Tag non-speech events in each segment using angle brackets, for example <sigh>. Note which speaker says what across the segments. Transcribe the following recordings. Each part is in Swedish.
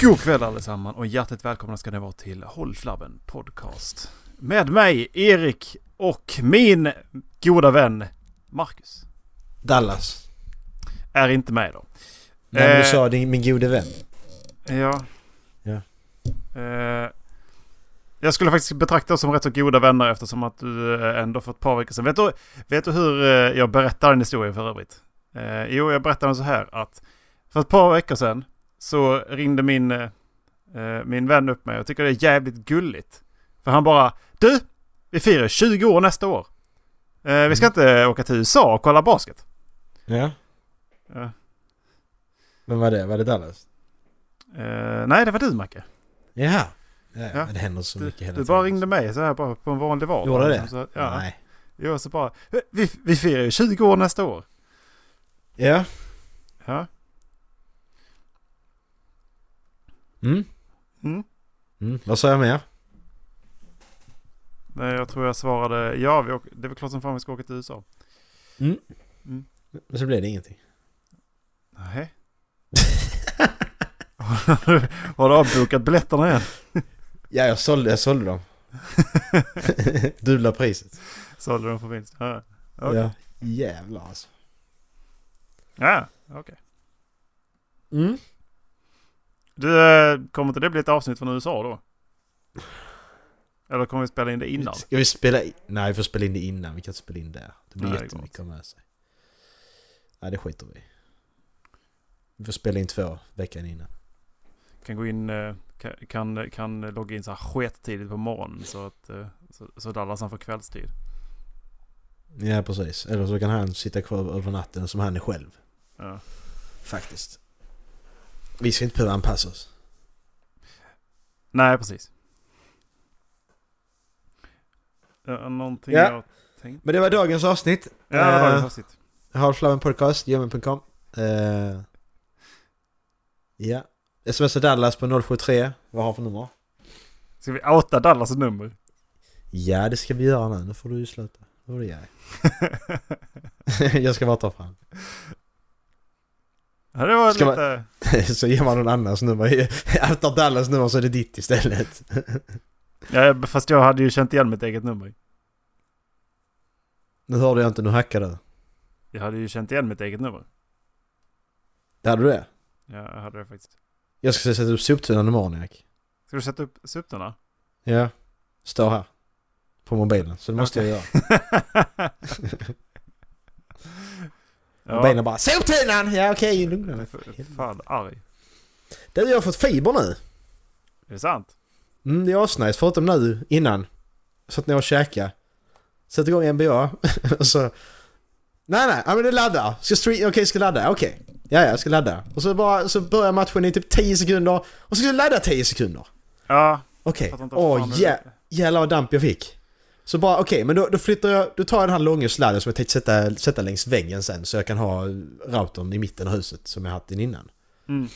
Speaker 1: God kväll allesammans och hjärtligt välkomna ska ni vara till Håll Flabben Podcast. Med mig Erik och min goda vän Marcus
Speaker 2: Dallas.
Speaker 1: är inte med idag.
Speaker 2: När du
Speaker 1: Eh.
Speaker 2: sa din, min gode vän.
Speaker 1: Ja.
Speaker 2: Ja.
Speaker 1: Eh, jag skulle faktiskt betrakta oss som rätt så goda vänner eftersom att du eh, ändå för ett par veckor sedan. Vet du, vet du hur eh, jag berättar den historien för övrigt? Eh, jo, jag berättar den så här att för ett par veckor sedan så ringde min, eh, eh, min vän upp mig. Jag tycker det är jävligt gulligt. För han bara, du, vi firar 20 år nästa år. Eh,
Speaker 2: Mm.
Speaker 1: vi ska inte åka till USA och kolla basket.
Speaker 2: Ja.
Speaker 1: Eh,
Speaker 2: Vem var det? Var det Dallas?
Speaker 1: eh, nej, det var du Macke.
Speaker 2: Jaha. Ja,
Speaker 1: Ja.
Speaker 2: men det händer så
Speaker 1: Du,
Speaker 2: mycket hela
Speaker 1: du bara ringde mig så här bara på en vanlig vardag.
Speaker 2: Gjorde det?
Speaker 1: liksom, Så, ja.
Speaker 2: Nej.
Speaker 1: Jo, så bara, vi, vi firar ju 20 år nästa år.
Speaker 2: Ja.
Speaker 1: Ja.
Speaker 2: Mm.
Speaker 1: Mm.
Speaker 2: Mm. Vad sa jag mer?
Speaker 1: Nej, jag tror jag svarade ja, vi åker, det är väl klart som fan vi ska åka till USA.
Speaker 2: Men så blev det ingenting. <laughs>
Speaker 1: Nej. Har du avbokat biljetterna igen?
Speaker 2: Ja, jag sålde, jag
Speaker 1: <laughs>
Speaker 2: sålde dem. Dubbla priset.
Speaker 1: Sålde de för vinst? Ja, okej.
Speaker 2: Ja. Jävlar alltså.
Speaker 1: Ja, okej.
Speaker 2: Mm.
Speaker 1: Du, eh, kommer inte det bli ett avsnitt från USA då? Eller kommer vi spela in det innan?
Speaker 2: Ska vi spela in? Nej, vi får spela in det innan. Vi kan inte spela in där. Det blir
Speaker 1: Nej, det går
Speaker 2: jättemycket att ha med sig. Nej, det skiter vi i. Vi får spela in två veckan innan.
Speaker 1: Kan gå in, eh, ka- kan, kan logga in så här skettidigt på morgonen så att eh, så, så Dallas han får kvällstid.
Speaker 2: Ja, precis. Eller så kan han sitta kvar över natten som han är själv.
Speaker 1: Ja.
Speaker 2: Faktiskt. Vi ska inte behöva anpassa oss.
Speaker 1: Nej, precis. Ja, någonting
Speaker 2: Ja.
Speaker 1: jag tänkte...
Speaker 2: Men det var dagens avsnitt.
Speaker 1: Ja, det var
Speaker 2: Eh.
Speaker 1: dagens avsnitt.
Speaker 2: Halflaven podcast, gmail.com. Eh, ja. Smsa Dallas på 073. Vad har han för nummer?
Speaker 1: Ska vi outa Dallas nummer?
Speaker 2: Ja, det ska vi göra nu. Nu får du ju sluta. Nu får du ge dig. <laughs> Jag ska bara ta fram.
Speaker 1: <laughs> ja, det var
Speaker 2: Ska man-
Speaker 1: lite...
Speaker 2: <laughs> så ger man någon annans nummer. <laughs> Jag tar Dallas nummer så är det ditt istället.
Speaker 1: Ja, fast jag hade ju känt igen mitt eget nummer.
Speaker 2: nu hörde jag inte, nu hackar du.
Speaker 1: Jag hade ju känt igen mitt eget nummer.
Speaker 2: Hade du det?
Speaker 1: Ja, jag hade det faktiskt.
Speaker 2: Jag ska sätta upp soptunnan imorgon, Erik.
Speaker 1: Ska du sätta upp
Speaker 2: <laughs>
Speaker 1: suptorna?
Speaker 2: Ja. Står här. På mobilen. Så det måste jag göra.
Speaker 1: ja,
Speaker 2: Mobilen bara Soptunnan! Ja okej, lugna
Speaker 1: jag är
Speaker 2: dig.
Speaker 1: för- fan arg.
Speaker 2: Du, jag har fått fiber nu.
Speaker 1: Är det sant?
Speaker 2: Mm, det är asnice, förutom nu innan. Så att ni har käka. Sätt igång NBA <laughs> och så... Nej nej, ja, men det laddar. Ska stream... Okej, ska ladda. Okej. Ja, ja, jag ska ladda. Och så bara, så börjar matchen i typ 10 sekunder. Och så ska jag ladda 10 sekunder.
Speaker 1: Ja.
Speaker 2: Okej.
Speaker 1: fattar inte vad
Speaker 2: Åh,
Speaker 1: fan det
Speaker 2: jä...
Speaker 1: heter.
Speaker 2: jävlar vad damp jag fick. Så bara okej, men då, då flyttar jag, då tar jag den här långa sladden som jag tänkte sätta, sätta längs väggen sen så jag kan ha routern i mitten av huset som jag haft den innan.
Speaker 1: Mm.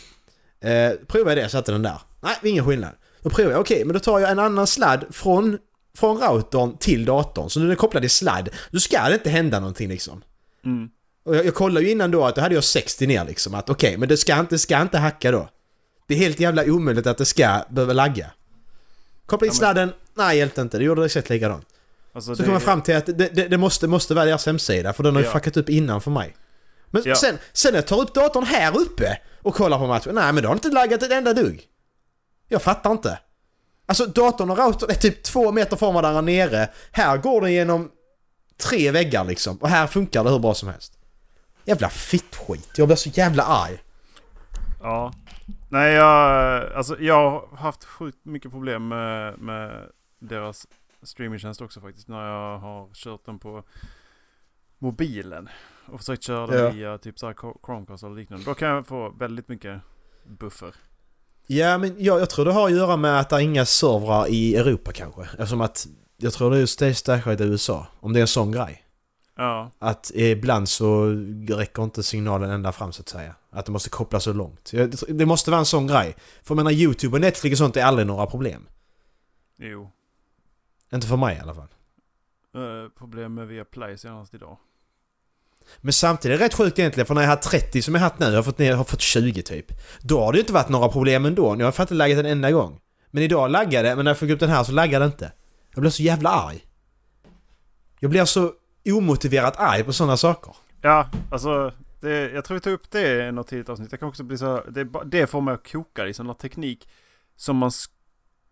Speaker 2: Eh, provar jag det, satte den där. Nej, ingen skillnad. Då provar jag, okej, men då tar jag en annan sladd från, från routern till datorn. Så nu är den kopplad i sladd, då ska det inte hända någonting liksom.
Speaker 1: Mm.
Speaker 2: Och jag, jag kollade ju innan då att då hade jag 60 ner liksom. Att okej, men det ska inte, ska inte hacka då. Det är helt jävla omöjligt att det ska behöva lagga. Koppla in
Speaker 1: Ja, men-
Speaker 2: sladden, nej hjälpte inte. Det gjorde exakt likadant.
Speaker 1: Alltså,
Speaker 2: Så kom jag fram till att det, det, det måste, måste vara deras hemsida för den har ju
Speaker 1: Ja.
Speaker 2: fuckat upp innan för mig. Men
Speaker 1: Ja.
Speaker 2: sen, sen när jag tar upp datorn här uppe och kollar på matchen, nej men då har inte laggat ett enda dugg. Jag fattar inte. Alltså datorn och routern är typ två meter från varandra nere. Här går den genom tre väggar liksom och här funkar det hur bra som helst. Jävla fittskit, jag blir så jävla arg.
Speaker 1: Ja. Nej, jag, alltså, jag har haft sjukt mycket problem med, med deras streamingtjänst också faktiskt. När jag har kört den på mobilen. Och försökt köra den
Speaker 2: Ja.
Speaker 1: via typ så här Chromecast eller liknande. Då kan jag få väldigt mycket buffer.
Speaker 2: Ja men jag, jag tror det har att göra med att det är inga servrar i Europa kanske. Eftersom att jag tror det är just det särskilt i USA. Om det är en sån grej.
Speaker 1: Ja,
Speaker 2: Att ibland så räcker inte signalen ända fram så att säga. Att det måste kopplas så långt. Jag- Det måste vara en sån grej. För jag menar YouTube och Netflix och sånt är aldrig några problem.
Speaker 1: jo.
Speaker 2: Inte för mig i alla fall.
Speaker 1: Eh, problem med Viaplay senast idag.
Speaker 2: Men samtidigt är det rätt sjukt egentligen för när jag hade 30 som jag haft nu, jag har fått, ner, jag har fått 20 typ. Då har det ju inte varit några problem ändå. Jag har fan inte laggat en enda gång. Men idag laggade det, men när jag fick upp den här så laggade det inte. Jag blev så jävla arg. Jag blir så omotiverat arg på sådana saker.
Speaker 1: Ja, alltså. Det, jag tror vi tog upp det i något tidigt avsnitt. Jag kan också bli så här- det, är ba- det får mig att koka i sån här teknik som man sk-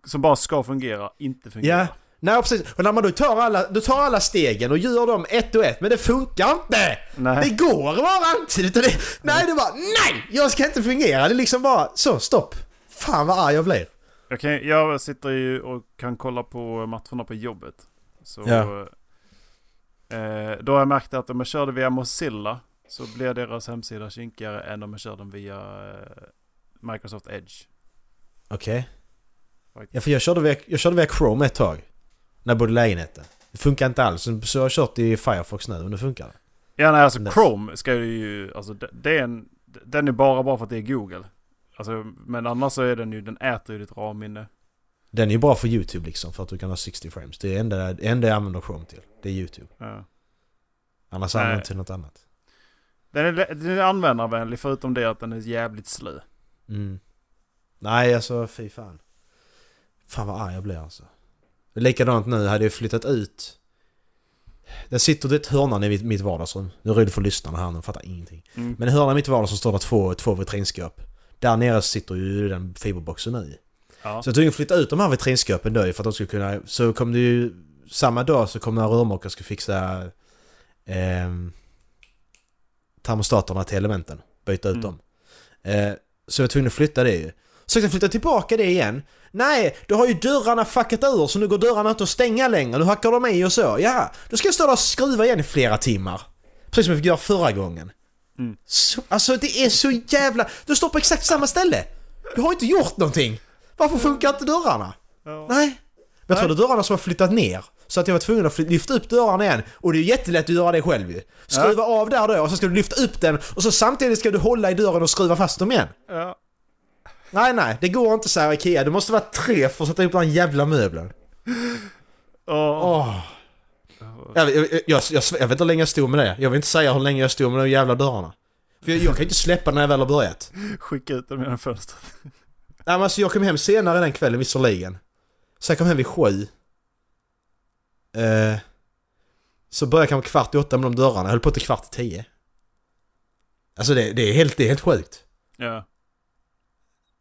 Speaker 1: som bara ska fungera, inte fungera.
Speaker 2: Ja. Nej precis, och när man då tar alla, då tar alla stegen och gör dem ett och ett men det funkar inte!
Speaker 1: Nej.
Speaker 2: Det går bara inte! Utan det, nej det bara NEJ! Jag ska inte fungera! Det är liksom bara så, stopp! Fan vad arg jag blir!
Speaker 1: Jag, kan, jag sitter ju och kan kolla på matcherna på jobbet. Så,
Speaker 2: Ja.
Speaker 1: eh, då har jag märkt att om jag körde via Mozilla så blir deras hemsida kinkigare än om jag kör den via eh, Microsoft Edge.
Speaker 2: Okej.
Speaker 1: Faktiskt.
Speaker 2: Ja, för jag körde, via, jag körde via Chrome ett tag. När jag bodde i lägenheten. Det funkar inte alls. Så- Så jag har kört i Firefox nu och nu funkar det.
Speaker 1: Ja, nej, alltså
Speaker 2: Nej.
Speaker 1: Chrome ska ju, alltså d- det är en, den är bara bra för att det är Google. Alltså, men annars så är den ju, den äter ju ditt RAM-minne.
Speaker 2: Den är ju bra för YouTube liksom för att du kan ha 60 frames. Det är det enda, det enda jag använder Chrome till. Det är YouTube.
Speaker 1: Ja.
Speaker 2: Annars
Speaker 1: Nej.
Speaker 2: använder jag inte något annat.
Speaker 1: Den är, lä- den är användarvänlig förutom det att den är jävligt slö.
Speaker 2: Mm. Nej alltså fy fan. Fan vad arg jag blir alltså. Likadant nu, hade jag flyttat ut. Där sitter det ett hörna i mitt- mitt vardagsrum. Nu är jag rädd för lyssnarna här, de fattar ingenting.
Speaker 1: Mm.
Speaker 2: Men i hörnan i mitt vardagsrum står det två, två vitrinskåp. Där nere sitter ju den fiberboxen i.
Speaker 1: Ja.
Speaker 2: Så jag tvungen flytta ut de här vitrinskåpen då ju för att de skulle kunna... Så kom det ju... Samma dag så kom några rörmokare och skulle fixa... ehm, termostaterna till elementen. Byta ut
Speaker 1: Mm.
Speaker 2: dem. Eh, så jag var tvungen att flytta det ju. Så jag flytta tillbaka det igen. Nej, då har ju dörrarna fuckat ur så nu går dörrarna inte att stänga längre. Nu hackar de i och så. Ja, då ska jag stå där och skruva igen i flera timmar. Precis som jag fick göra förra gången.
Speaker 1: Mm.
Speaker 2: Så, alltså det är så jävla... Du står på exakt samma ställe! Du har inte gjort någonting! Varför funkar inte dörrarna?
Speaker 1: Ja.
Speaker 2: Nej. Men jag tror det är dörrarna som har flyttat ner. Så att jag var tvungen att fly- lyfta upp dörrarna igen. Och det är ju jättelätt att göra det själv ju. Skruva av där då och så ska du lyfta upp den och så samtidigt ska du hålla i dörren och skruva fast dem igen.
Speaker 1: Ja.
Speaker 2: Nej, nej, det går inte så här Ikea. Det måste vara tre för att sätta ihop den här jävla möblen.
Speaker 1: Åh.
Speaker 2: Åh. Jag, jag, jag, jag, jag vet inte hur länge jag stod med det. Jag vill inte säga hur länge jag stod med de jävla dörrarna. För jag, jag kan inte släppa när jag väl har börjat.
Speaker 1: Skicka ut dem genom fönstret.
Speaker 2: Nej men alltså jag kom hem senare den kvällen visserligen. Så jag kom hem vid sju. Eh, så började jag kanske kvart i åtta med de dörrarna. Jag höll på till kvart i tio. Alltså det, det, är, helt, det är helt sjukt.
Speaker 1: Ja.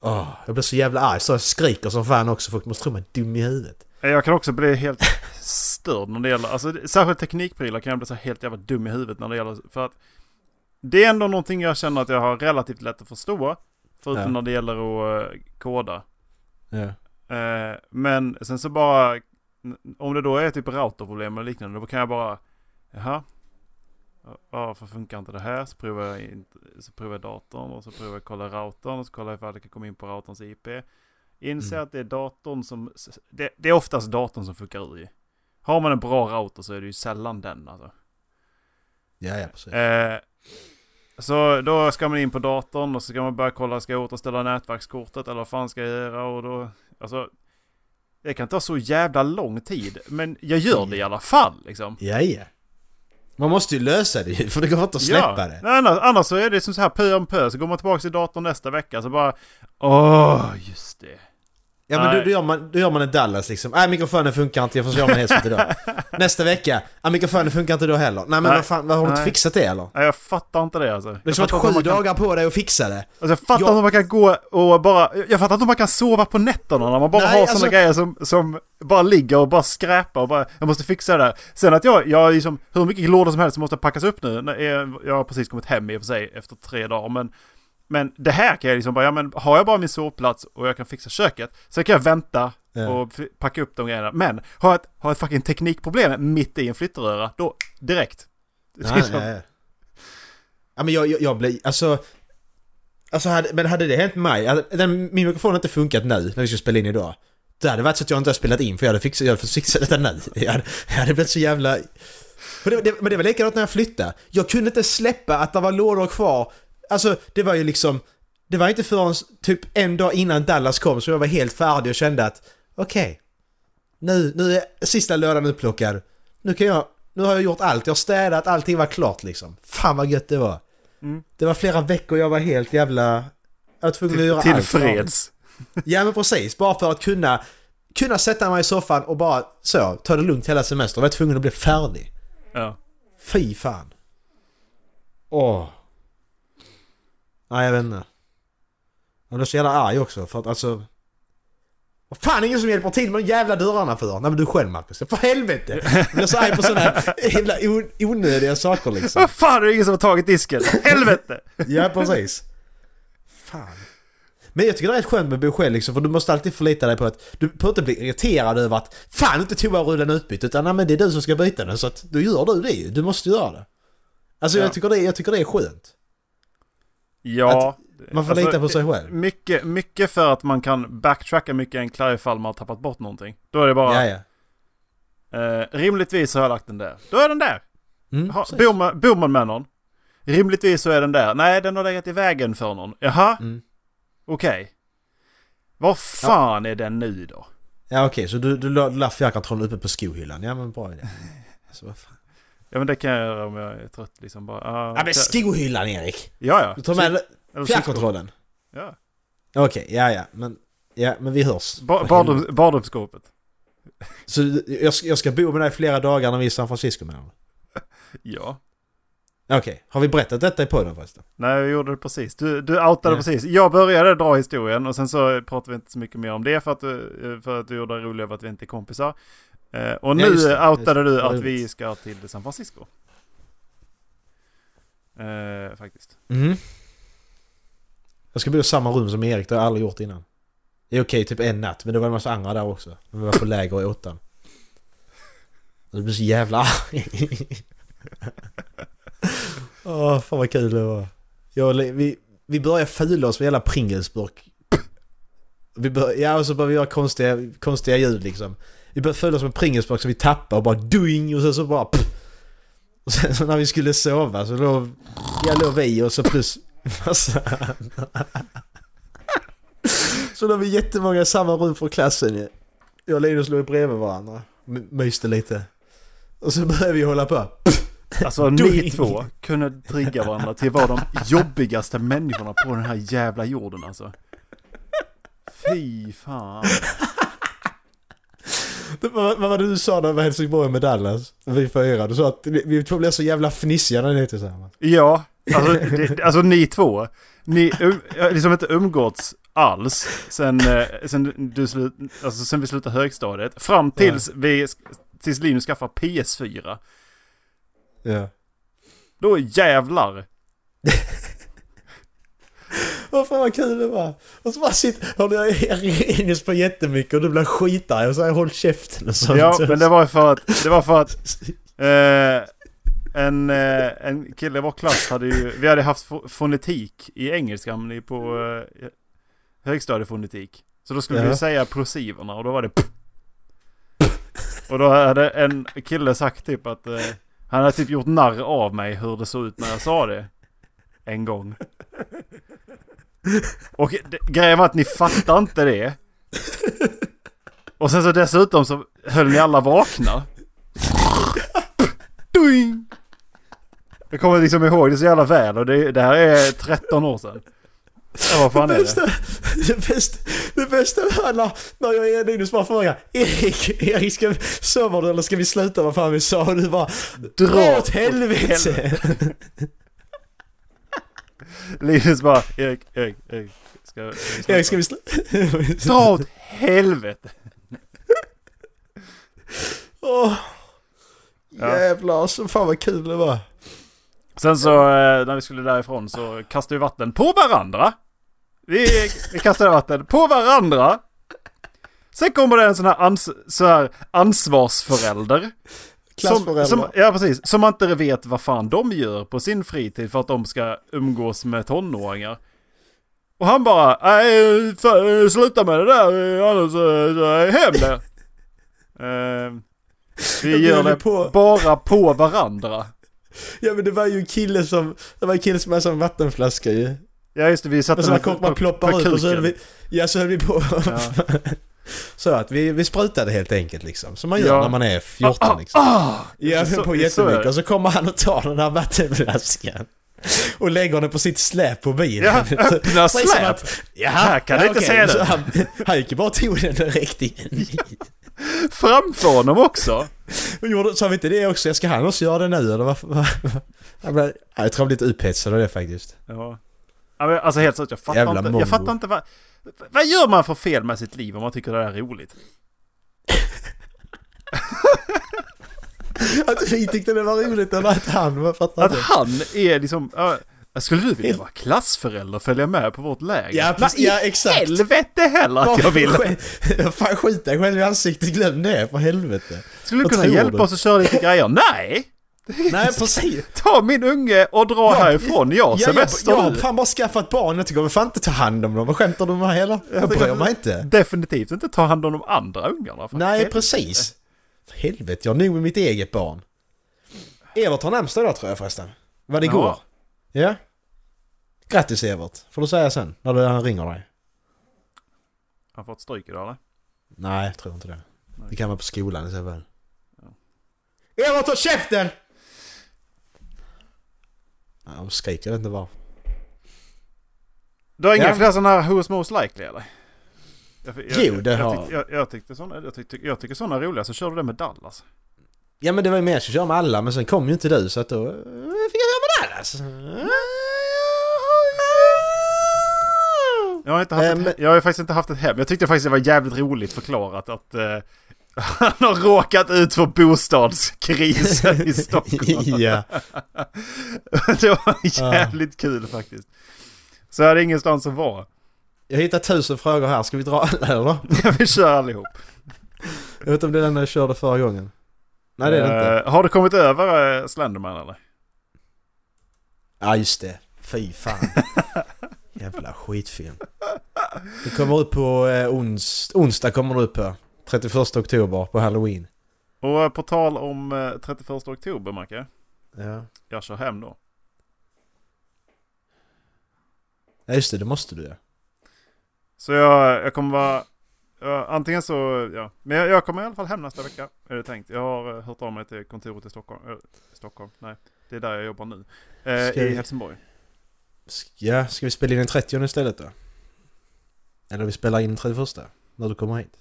Speaker 2: Åh, jag blev så jävla arg så jag skriker som fan också. Folk måste tro mig dum i huvudet.
Speaker 1: Jag kan också bli helt störd när det gäller, alltså det- särskilt teknikprylar kan jag bli så här helt jävla dum i huvudet när det gäller, för att det är ändå någonting jag känner att jag har relativt lätt att förstå, förutom
Speaker 2: Ja.
Speaker 1: när det gäller att eh, koda.
Speaker 2: Ja.
Speaker 1: Eh, men sen så bara, om det då är typ routerproblem eller liknande, då kan jag bara, jaha, Ja, varför funkar inte det här? Så provar jag, inte, så provar jag datorn och så provar jag att kolla routern och så kollar jag ifall jag kan komma in på routerns IP. Inser
Speaker 2: Mm.
Speaker 1: att det är datorn som, det, det är oftast datorn som funkar ur ju. Har man en bra router så är det ju sällan den alltså.
Speaker 2: Ja, ja precis.
Speaker 1: Eh, så då ska man in på datorn och så ska man börja kolla, ska jag återställa nätverkskortet eller vad fan ska jag göra? Och då, alltså, det kan ta så jävla lång tid, men jag gör det i alla fall liksom.
Speaker 2: Ja, ja. Man måste ju lösa det ju, för det går inte att släppa
Speaker 1: ja.
Speaker 2: det.
Speaker 1: Nej, annars, annars så är det som så här pö om pö, så går man tillbaka till datorn nästa vecka så bara, åh, just det.
Speaker 2: Ja men
Speaker 1: Nej.
Speaker 2: då, då, gör man, då gör man en Dallas liksom. Nej mikrofonen funkar inte, jag får göra min headset idag.
Speaker 1: <laughs>
Speaker 2: Nästa vecka, ja mikrofonen funkar inte då heller. Nej men
Speaker 1: Nej.
Speaker 2: vad fan, vad, har du inte
Speaker 1: Nej.
Speaker 2: fixat det eller?
Speaker 1: Nej, jag fattar inte det alltså.
Speaker 2: Det har
Speaker 1: jag fattar inte hur
Speaker 2: varit sju
Speaker 1: man kan-
Speaker 2: dagar på dig att
Speaker 1: <laughs>
Speaker 2: fixa det.
Speaker 1: Alltså jag fattar
Speaker 2: Jag-
Speaker 1: inte hur man kan gå och bara, jag fattar inte hur man kan sova på nätterna när man bara
Speaker 2: Nej,
Speaker 1: har
Speaker 2: alltså-
Speaker 1: sådana grejer som, som bara ligger och bara skräpar och bara, jag måste fixa det där. Sen att jag, jag är liksom, hur mycket lådor som helst som måste packas upp nu, när jag- jag har precis kommit hem i och för sig efter tre dagar, men men det här kan jag liksom bara, ja men har jag bara min sovplats och jag kan fixa köket, så kan jag vänta
Speaker 2: Ja.
Speaker 1: och f- packa upp de grejerna. Men har jag ett, har jag ett fucking teknikproblem mitt i en flyttröra, då direkt.
Speaker 2: Nej, nej,
Speaker 1: <laughs>
Speaker 2: nej. Ja men jag, jag, jag blir, alltså... Alltså hade, men hade det hänt mig, hade, den, min mikrofon har inte funkat nu när vi ska spela in idag. Det hade varit så att jag inte har spelat in för jag hade fixat, jag hade fixat detta nu. <laughs> Jag hade, jag hade blivit så jävla... För det, det, men det var likadant när jag flyttade. Jag kunde inte släppa att det var lådor kvar. Alltså det var ju liksom... Det var inte förrän typ en dag innan Dallas kom som jag var helt färdig och kände att okej. nu, nu är sista lördagen utplockad. Nu kan jag Nu har jag gjort allt, jag har städat, allting var klart liksom. Fan vad gött det var.
Speaker 1: Mm.
Speaker 2: Det var flera veckor jag var helt jävla... Jag var tvungen att göra
Speaker 1: Till
Speaker 2: allt.
Speaker 1: freds.
Speaker 2: Ja men precis, bara för att kunna, kunna sätta mig i soffan och bara så, ta det lugnt hela semestern. Jag var tvungen att bli färdig.
Speaker 1: Ja.
Speaker 2: Fy fan. Åh. Nej jag vet inte. Jag blev så jävla arg också för att alltså... Vad fan ingen som hjälper till med de jävla dörrarna för? Nej men du själv Marcus, för helvete! Jag blir så arg på sådana jävla on- onödiga saker liksom.
Speaker 1: Vad fan, det är ingen som har tagit disken. Helvete!
Speaker 2: Ja, precis. Fan. Men jag tycker det är rätt skönt med att bo själv liksom, för du måste alltid förlita dig på att du behöver inte bli irriterad över att fan inte toarullen är utbytt utan nej, men det är du som ska byta den så att då gör du det ju. Du måste göra det. Alltså
Speaker 1: Ja.
Speaker 2: jag, tycker det, jag tycker det är skönt.
Speaker 1: Ja. alltså,
Speaker 2: Man får lita på sig själv.
Speaker 1: Mycket, mycket för att man kan backtracka mycket enklare ifall man har tappat bort någonting. Då är det bara,
Speaker 2: Ja, ja.
Speaker 1: eh, rimligtvis har jag lagt den där. Då är den där!
Speaker 2: Mm,
Speaker 1: Jaha,
Speaker 2: precis.
Speaker 1: bor man- bor man med någon? Rimligtvis så är den där. Nej, den har legat i vägen för någon. Jaha,
Speaker 2: Mm.
Speaker 1: okej. Vad fan är den nu då?
Speaker 2: ja okej, så du, du la, la fjärrkontrollen uppe på skohyllan. Ja men bra idé. Alltså, vad fan.
Speaker 1: Ja men det kan jag göra om jag är trött liksom bara. ah,
Speaker 2: Ja men
Speaker 1: där.
Speaker 2: skohyllan Erik!
Speaker 1: ja, ja.
Speaker 2: Du tar med
Speaker 1: Eller så-
Speaker 2: fjärrkontrollen.
Speaker 1: Ja.
Speaker 2: Okej, ja ja. Men, ja men vi hörs.
Speaker 1: Ba- badrum- Badrumsskåpet.
Speaker 2: Så du- jag ska, jag ska bo med dig flera dagar när vi är i San Francisco med honom.
Speaker 1: Ja.
Speaker 2: Okej, har vi berättat detta i podden förresten?
Speaker 1: Nej, jag gjorde det precis. Du, du outade
Speaker 2: Ja.
Speaker 1: precis. Jag började dra historien och sen så pratade vi inte så mycket mer om det för att du, för att du gjorde dig rolig över att vi inte är kompisar. Eh, och nu
Speaker 2: just det, just
Speaker 1: outade
Speaker 2: det.
Speaker 1: du
Speaker 2: Ja,
Speaker 1: att
Speaker 2: det är
Speaker 1: vi
Speaker 2: roligt.
Speaker 1: ska till San Francisco. Eh, faktiskt.
Speaker 2: <laughs> Mm. Jag ska bo i samma rum som Erik, det har jag aldrig gjort innan. Det är okej, typ en natt, men det var en massa andra där också. Men vi var på läger i åttan. Jag blir så jävla arg. <laughs> Åh, fan vad kul det var. Jag, och Le- vi, vi började fula oss med hela Pringlesburk. Vi bör, ja, och så började vi göra konstiga, konstiga ljud liksom. Vi började fula oss med Pringlesburk så vi tappade och bara doing och sen så bara... <laughs> Pff. Och sen så när vi skulle sova så låg jag låg vi och så plus massa andra. Så då var vi jättemånga i samma rum från klassen ju. Jag och Linus låg bredvid varandra. My- Myste lite. Och så började vi hålla på.
Speaker 1: Alltså ni
Speaker 2: Doing.
Speaker 1: två kunde trigga varandra till att vara de jobbigaste människorna på den här jävla jorden alltså. Fy fan.
Speaker 2: Det var- Vad var det du sa när vi var i Helsingborg med Dallas? Vi fyra. Du sa att vi- vi två blev så jävla fnissiga när ni är tillsammans.
Speaker 1: Ja, alltså, det, alltså ni två. Ni um, jag har liksom inte umgåtts alls sen, eh, sen, du slut, alltså, sen vi slutade högstadiet. Fram tills, vi, tills Linus skaffade PS4.
Speaker 2: Ja.
Speaker 1: Då jävlar.
Speaker 2: Vad fan vad kul det var. Och så bara sitter... Hörde jag Rinus på jättemycket och du blev skitarg och så har jag hållit käften och sånt.
Speaker 1: Ja, men det var för att, det var för att eh, en, eh, en kille i vår klass hade ju, vi hade haft fo- fonetik i engelskan i- på eh, högstadiefonetik. Så då skulle
Speaker 2: Ja.
Speaker 1: vi säga plosiverna och då var det p- Och då hade en kille sagt typ att eh, han hade typ gjort narr av mig hur det såg ut när jag sa det. En gång. Och det, grejen var att ni fattar inte det. Och sen så dessutom så höll ni alla vakna. Doing! Jag kommer liksom ihåg det så jävla väl och det, det här är 13 år sedan. Ja, vad fan är det?
Speaker 2: bästa, det bästa, det bästa var när, när jag och Linus bara frågade Erik, Erik ska vi, sover du eller ska vi sluta vad fan vi sa? Och du bara
Speaker 1: Dra
Speaker 2: Dra åt helvete!
Speaker 1: Linus bara, Erik, Erik, Erik. Ska, ska
Speaker 2: Erik ska vi sluta? <laughs>
Speaker 1: Dra åt helvete!
Speaker 2: Åh,
Speaker 1: Ja.
Speaker 2: Jävlar så fan vad kul det var.
Speaker 1: Sen så eh, när vi skulle därifrån så kastade vi vatten på varandra. Vi, vi kastade vatten på varandra. Sen kommer det en sån här, ans, så här ansvarsförälder.
Speaker 2: Klassföräldrar.
Speaker 1: Som, som, ja, precis. Som man inte vet vad fan de gör på sin fritid för att de ska umgås med tonåringar. Och han bara, nej, fan, eh, sluta med det där, eh, annars eh, så är jag hem
Speaker 2: <laughs>
Speaker 1: där. Eh, vi
Speaker 2: Jag
Speaker 1: gör
Speaker 2: bjuder
Speaker 1: det
Speaker 2: på-
Speaker 1: bara på varandra.
Speaker 2: Ja men det var ju en kille som, det var en kille som hade en sån vattenflaska ju.
Speaker 1: Ja just det, vi satte
Speaker 2: Och så man,
Speaker 1: den
Speaker 2: man ploppar ut och så höll vi, ja så höll vi på.
Speaker 1: Ja.
Speaker 2: <laughs> Så att vi, vi sprutade helt enkelt liksom. Som man gör
Speaker 1: Ja.
Speaker 2: när man är 14 liksom.
Speaker 1: Ah!
Speaker 2: Jag
Speaker 1: Så-
Speaker 2: höll på
Speaker 1: så är
Speaker 2: jättemycket
Speaker 1: det.
Speaker 2: och så kommer han och tar den här vattenflaskan. Och lägger den på sitt släp på <laughs> bilen.
Speaker 1: Ja, öppna
Speaker 2: Precis som
Speaker 1: släp!
Speaker 2: att, Jaha,
Speaker 1: Här kan du inte se
Speaker 2: okej. Så
Speaker 1: den.
Speaker 2: Han, han gick ju bara och tog den direkt in.
Speaker 1: Framför honom också!
Speaker 2: Och gjorde, sa vi inte det också? Ska han också göra det nu eller vad? vad- vad- Jag, blev, ja, jag tror han blev lite upphetsad av det faktiskt.
Speaker 1: Ja. Ja, men Alltså helt seriöst, jag fattar
Speaker 2: Jävla
Speaker 1: inte.
Speaker 2: mongo.
Speaker 1: Jag fattar inte vad... Vad gör man för fel med sitt liv om man tycker det där är roligt?
Speaker 2: Att vi tyckte det var roligt eller att han, vad fattar
Speaker 1: Att
Speaker 2: du?
Speaker 1: han är liksom... ja, skulle du vilja vara klassförälder och följa med på vårt läger?
Speaker 2: Ja,
Speaker 1: Nej,
Speaker 2: precis, ja, exakt.
Speaker 1: helvete heller att jag vill!
Speaker 2: Sk- Fan skit dig själv i ansiktet, glöm det för helvete.
Speaker 1: Skulle du
Speaker 2: Vad
Speaker 1: kunna
Speaker 2: tror
Speaker 1: hjälpa
Speaker 2: du?
Speaker 1: oss att köra lite grejer? Nej!
Speaker 2: Nej precis.
Speaker 1: Ta min unge och dra härifrån, jag har
Speaker 2: Ja, jag,
Speaker 1: semester
Speaker 2: jag har
Speaker 1: nu.
Speaker 2: fan bara skaffat barn, jag tycker vi fan inte ta hand om dem. Vad skämtar du med heller? Jag bryr mig inte.
Speaker 1: Definitivt inte ta hand om de andra ungarna. för
Speaker 2: Nej,
Speaker 1: helvete.
Speaker 2: precis. För helvete, jag har nog med mitt eget barn. Evert har namnsdag idag tror jag förresten. Var det
Speaker 1: Ja.
Speaker 2: igår? Ja. Grattis Evert, får du säga sen när du- han ringer dig.
Speaker 1: Har han fått stryk idag eller?
Speaker 2: Nej, jag tror inte det. Det kan vara på skolan i så fall. Evert, håll käften! Ja, de skriker, jag vet inte varför.
Speaker 1: Du har inga
Speaker 2: Ja.
Speaker 1: fler sådana här Who's Most Likely eller? Jag,
Speaker 2: Jo, det
Speaker 1: jag,
Speaker 2: har
Speaker 1: jag. Tyckte, jag, jag, tyckte såna, jag, tyckte, jag tycker sådana är roliga, så kör du det med Dallas.
Speaker 2: Ja men det var ju mer jag skulle köra med alla, men sen kom ju inte du så att då eh, fick jag köra med Dallas.
Speaker 1: Jag har, inte haft
Speaker 2: Ähm.
Speaker 1: ett, he- jag har ju faktiskt inte haft ett hem. Jag tyckte faktiskt det var jävligt roligt förklarat att eh, <laughs> han har råkat ut för
Speaker 2: <laughs>
Speaker 1: bostadskrisen i Stockholm.
Speaker 2: <laughs> ja.
Speaker 1: Det var jävligt kul faktiskt. Så jag hade ingenstans att vara. <laughs>
Speaker 2: Jag hittar tusen frågor här, ska vi dra alla eller?
Speaker 1: Vi kör allihop.
Speaker 2: Jag vet inte om det är den jag körde förra gången. Nej det är det inte.
Speaker 1: Eh, har du kommit över eh, Slenderman eller?
Speaker 2: Ja just det. Fy fan. <laughs> Jävla skitfilm. Det kommer upp på eh, ons- onsdag kommer det upp på. 31 oktober på halloween.
Speaker 1: Och eh, på tal om eh, 31 oktober, Macke.
Speaker 2: Ja.
Speaker 1: Jag kör hem då.
Speaker 2: Ja just det, det måste du ja.
Speaker 1: Så jag, jag kommer vara... ja, antingen så, ja. Men jag, jag kommer i alla fall hem nästa vecka. Är det tänkt. Jag har eh, hört av mig till kontoret i Stockholm. eh, Stockholm? Nej. Det är där jag jobbar nu. Eh,
Speaker 2: Ska
Speaker 1: I
Speaker 2: vi-
Speaker 1: Helsingborg.
Speaker 2: Sk- Ja, ska vi spela in den 30 istället då? Eller vi spelar in den 31 när du kommer hit.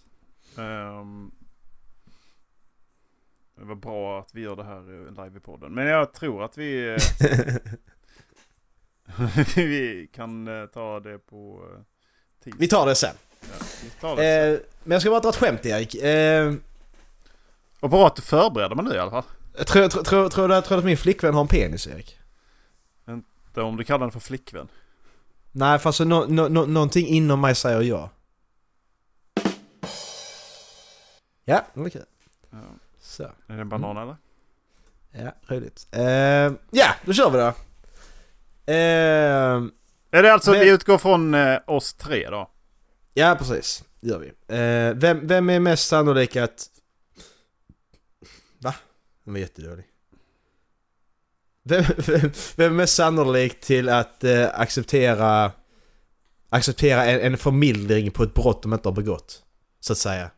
Speaker 1: Ehm, det var bra att vi gör det här eh, live i podden. Men jag tror att vi...
Speaker 2: <laughs>
Speaker 1: eh, <laughs> vi kan eh, ta det på... eh, tisdag.
Speaker 2: Vi tar det sen.
Speaker 1: Ja, vi tar det.
Speaker 2: Eh, men jag ska bara dra ett skämt Erik. Eh,
Speaker 1: Och bra att du förbereder mig nu i alla fall.
Speaker 2: tror, tror, tror, tror, du- tror du att min flickvän har en penis Erik?
Speaker 1: Det är Om du kallar den för flickvän.
Speaker 2: Nej, fast så nå- nå- nå- någonting inom mig säger ja. Ja, det var kul.
Speaker 1: Ja.
Speaker 2: Så,
Speaker 1: Är det en banan
Speaker 2: Mm.
Speaker 1: eller?
Speaker 2: ja, roligt. Eh, ja, då kör vi då. Eh,
Speaker 1: Är det alltså,
Speaker 2: Men-
Speaker 1: vi utgår från eh, oss tre då?
Speaker 2: ja, precis. Det gör vi. Eh, vem, vem är mest sannolik att... Va? Den var jättedålig. Vem, vem, vem är mest sannolik till att eh, acceptera, acceptera en, en förmildring på ett brott de inte har begått? Så att säga.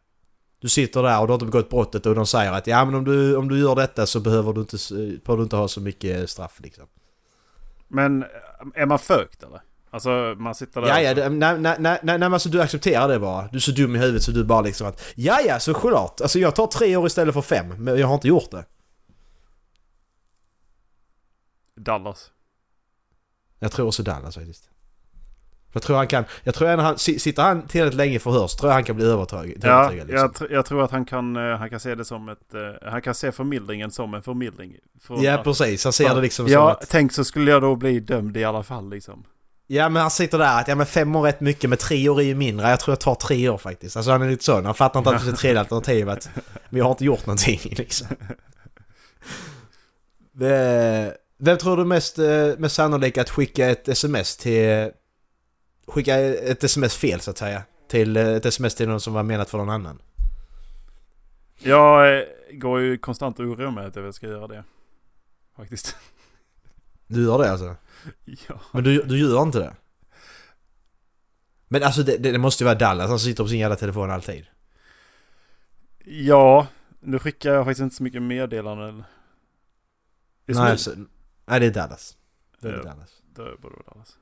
Speaker 2: Du sitter där och du har inte begått brottet och de säger att ja men om du, om du gör detta så behöver du inte, s- eh, behöver du inte ha så mycket straff liksom.
Speaker 1: Men eh, är man fökt eller? Alltså man sitter där
Speaker 2: Ja, ja,
Speaker 1: och så-
Speaker 2: det- nej, nej, nej, nej, men alltså du accepterar det bara. Du är så dum i huvudet så du bara liksom att ja, ja, så klart. Alltså jag tar tre år istället för fem, men jag har inte gjort det.
Speaker 1: Dallas.
Speaker 2: Jag tror också Dallas faktiskt. Jag tror han kan, jag tror att han, si- sitter han tillräckligt länge i förhör så tror jag han kan bli övertagad.
Speaker 1: Ja,
Speaker 2: övertygad, liksom.
Speaker 1: jag, tr- jag tror att han kan, eh, han kan se det som ett... eh, Han kan se förmildringen som en förmildring. Från
Speaker 2: ja
Speaker 1: att-
Speaker 2: precis. Han ser det liksom som
Speaker 1: Ja,
Speaker 2: att,
Speaker 1: tänk så skulle jag då bli dömd i alla fall liksom.
Speaker 2: ja men han sitter där att ja men fem år är rätt mycket men tre år är ju mindre. Jag tror jag tar tre år faktiskt. Alltså han är lite sån, han fattar inte att det finns ett tredje alternativ att men jag har inte gjort någonting <laughs> liksom. Eh, Vem tror du mest, eh, mest sannolikt att skicka ett sms till... Skicka ett sms fel så att säga. Till eh, ett sms till någon som var menat för någon annan.
Speaker 1: Jag eh, går ju konstant och oroar mig att jag ska göra det. Faktiskt. <laughs>
Speaker 2: Du gör det alltså?
Speaker 1: Ja.
Speaker 2: Men du, du gör inte det? Men alltså det, det, det måste ju vara Dallas, han sitter på sin jävla telefon alltid.
Speaker 1: Ja, nu skickar jag faktiskt inte så mycket meddelanden. Just
Speaker 2: Nej,
Speaker 1: nu.
Speaker 2: så, nej, det är Dallas. Det är
Speaker 1: Ja.
Speaker 2: Dallas.
Speaker 1: Det borde vara Dallas.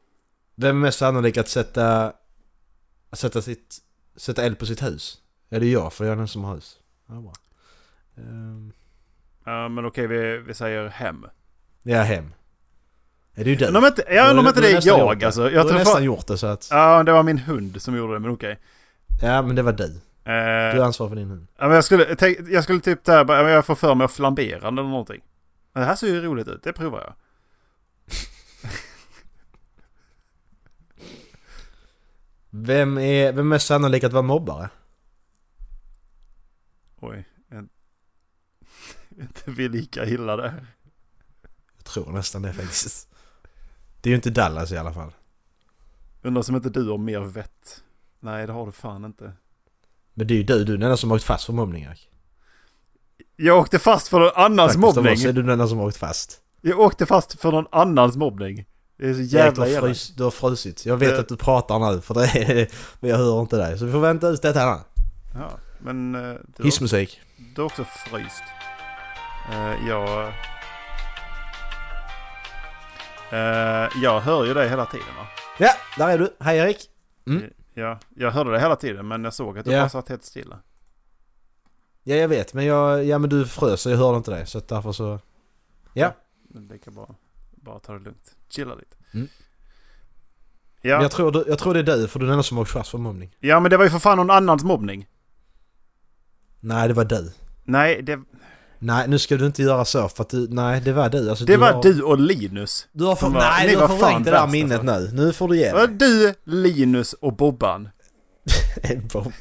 Speaker 2: Vem är mest sannolik att sätta, att sätta, sitt, sätta eld på sitt hus? Ja, det är jag, för jag är den som har hus. Ja, bra. Ehm,
Speaker 1: Ja, men okej, vi, vi säger hem.
Speaker 2: ja, hem. Är det ju
Speaker 1: Men om
Speaker 2: du?
Speaker 1: inte, jag undrar om
Speaker 2: Du-
Speaker 1: inte
Speaker 2: du
Speaker 1: det
Speaker 2: har
Speaker 1: är
Speaker 2: nästan gjort
Speaker 1: jag
Speaker 2: det.
Speaker 1: alltså.
Speaker 2: Jag
Speaker 1: Jag
Speaker 2: har
Speaker 1: tror
Speaker 2: nästan
Speaker 1: fan...
Speaker 2: gjort det så att...
Speaker 1: Ja, det var min hund som gjorde det, men okej.
Speaker 2: Ja, men det var du.
Speaker 1: Eh,
Speaker 2: Du ansvarar för din hund.
Speaker 1: ja, men jag, skulle, tänk, jag skulle typ där, bara, ja, men jag får för mig att flambera den eller någonting. Men det här ser ju roligt ut, det provar jag.
Speaker 2: Vem är, vem är mest sannolik att vara mobbare?
Speaker 1: Oj. En... <laughs> inte vi lika illa där.
Speaker 2: Jag tror nästan det faktiskt. Det är ju inte Dallas i alla fall.
Speaker 1: Undrar som inte du har mer vett. Nej, det har du fan inte.
Speaker 2: Men det är ju du, du är den enda som har åkt fast för mobbning Jack.
Speaker 1: Jag åkte fast för någon annans
Speaker 2: Faktiskt, av
Speaker 1: mobbning.
Speaker 2: oss är du den enda som har åkt fast.
Speaker 1: Jag åkte fast för någon annans mobbning. Det är så
Speaker 2: Jävlar,
Speaker 1: jävla
Speaker 2: du, har
Speaker 1: jävla...
Speaker 2: frys, du har frusit. Jag vet
Speaker 1: Det-
Speaker 2: att du pratar nu för det är, men jag hör inte dig. Så vi får vänta ut detta här.
Speaker 1: Ja, men eh, du, har-
Speaker 2: Hissmusik.
Speaker 1: du har också fryst. Eh, jag... Eh, jag hör ju dig hela tiden va?
Speaker 2: Ja, där är du. Hej Erik. Mm.
Speaker 1: Ja, jag hörde dig hela tiden men jag såg att du
Speaker 2: Ja.
Speaker 1: bara satt helt stilla.
Speaker 2: Ja, jag vet. Men jag, ja men du frös så jag hörde inte dig. Så att därför så...
Speaker 1: Men det kan bara, bara ta det lugnt. Chilla lite.
Speaker 2: Mm. Men
Speaker 1: Ja,
Speaker 2: Jag, tror, du- jag tror det är du, för du är den enda som har åkt fast för mobbning.
Speaker 1: ja, men det var ju för fan någon annans mobbning.
Speaker 2: Nej, det var du.
Speaker 1: Nej, det,
Speaker 2: Nej, nu ska du inte göra så för att du... Nej, det var du. Alltså,
Speaker 1: det
Speaker 2: du
Speaker 1: var
Speaker 2: har,
Speaker 1: du och Linus.
Speaker 2: Du har för,
Speaker 1: som var-
Speaker 2: nej,
Speaker 1: ni
Speaker 2: du har
Speaker 1: var fan
Speaker 2: förvrängt det där
Speaker 1: värst, alltså.
Speaker 2: minnet nu. Nu får du ge
Speaker 1: Det var
Speaker 2: dig.
Speaker 1: du, Linus och Bobban.
Speaker 2: <laughs> Bobban.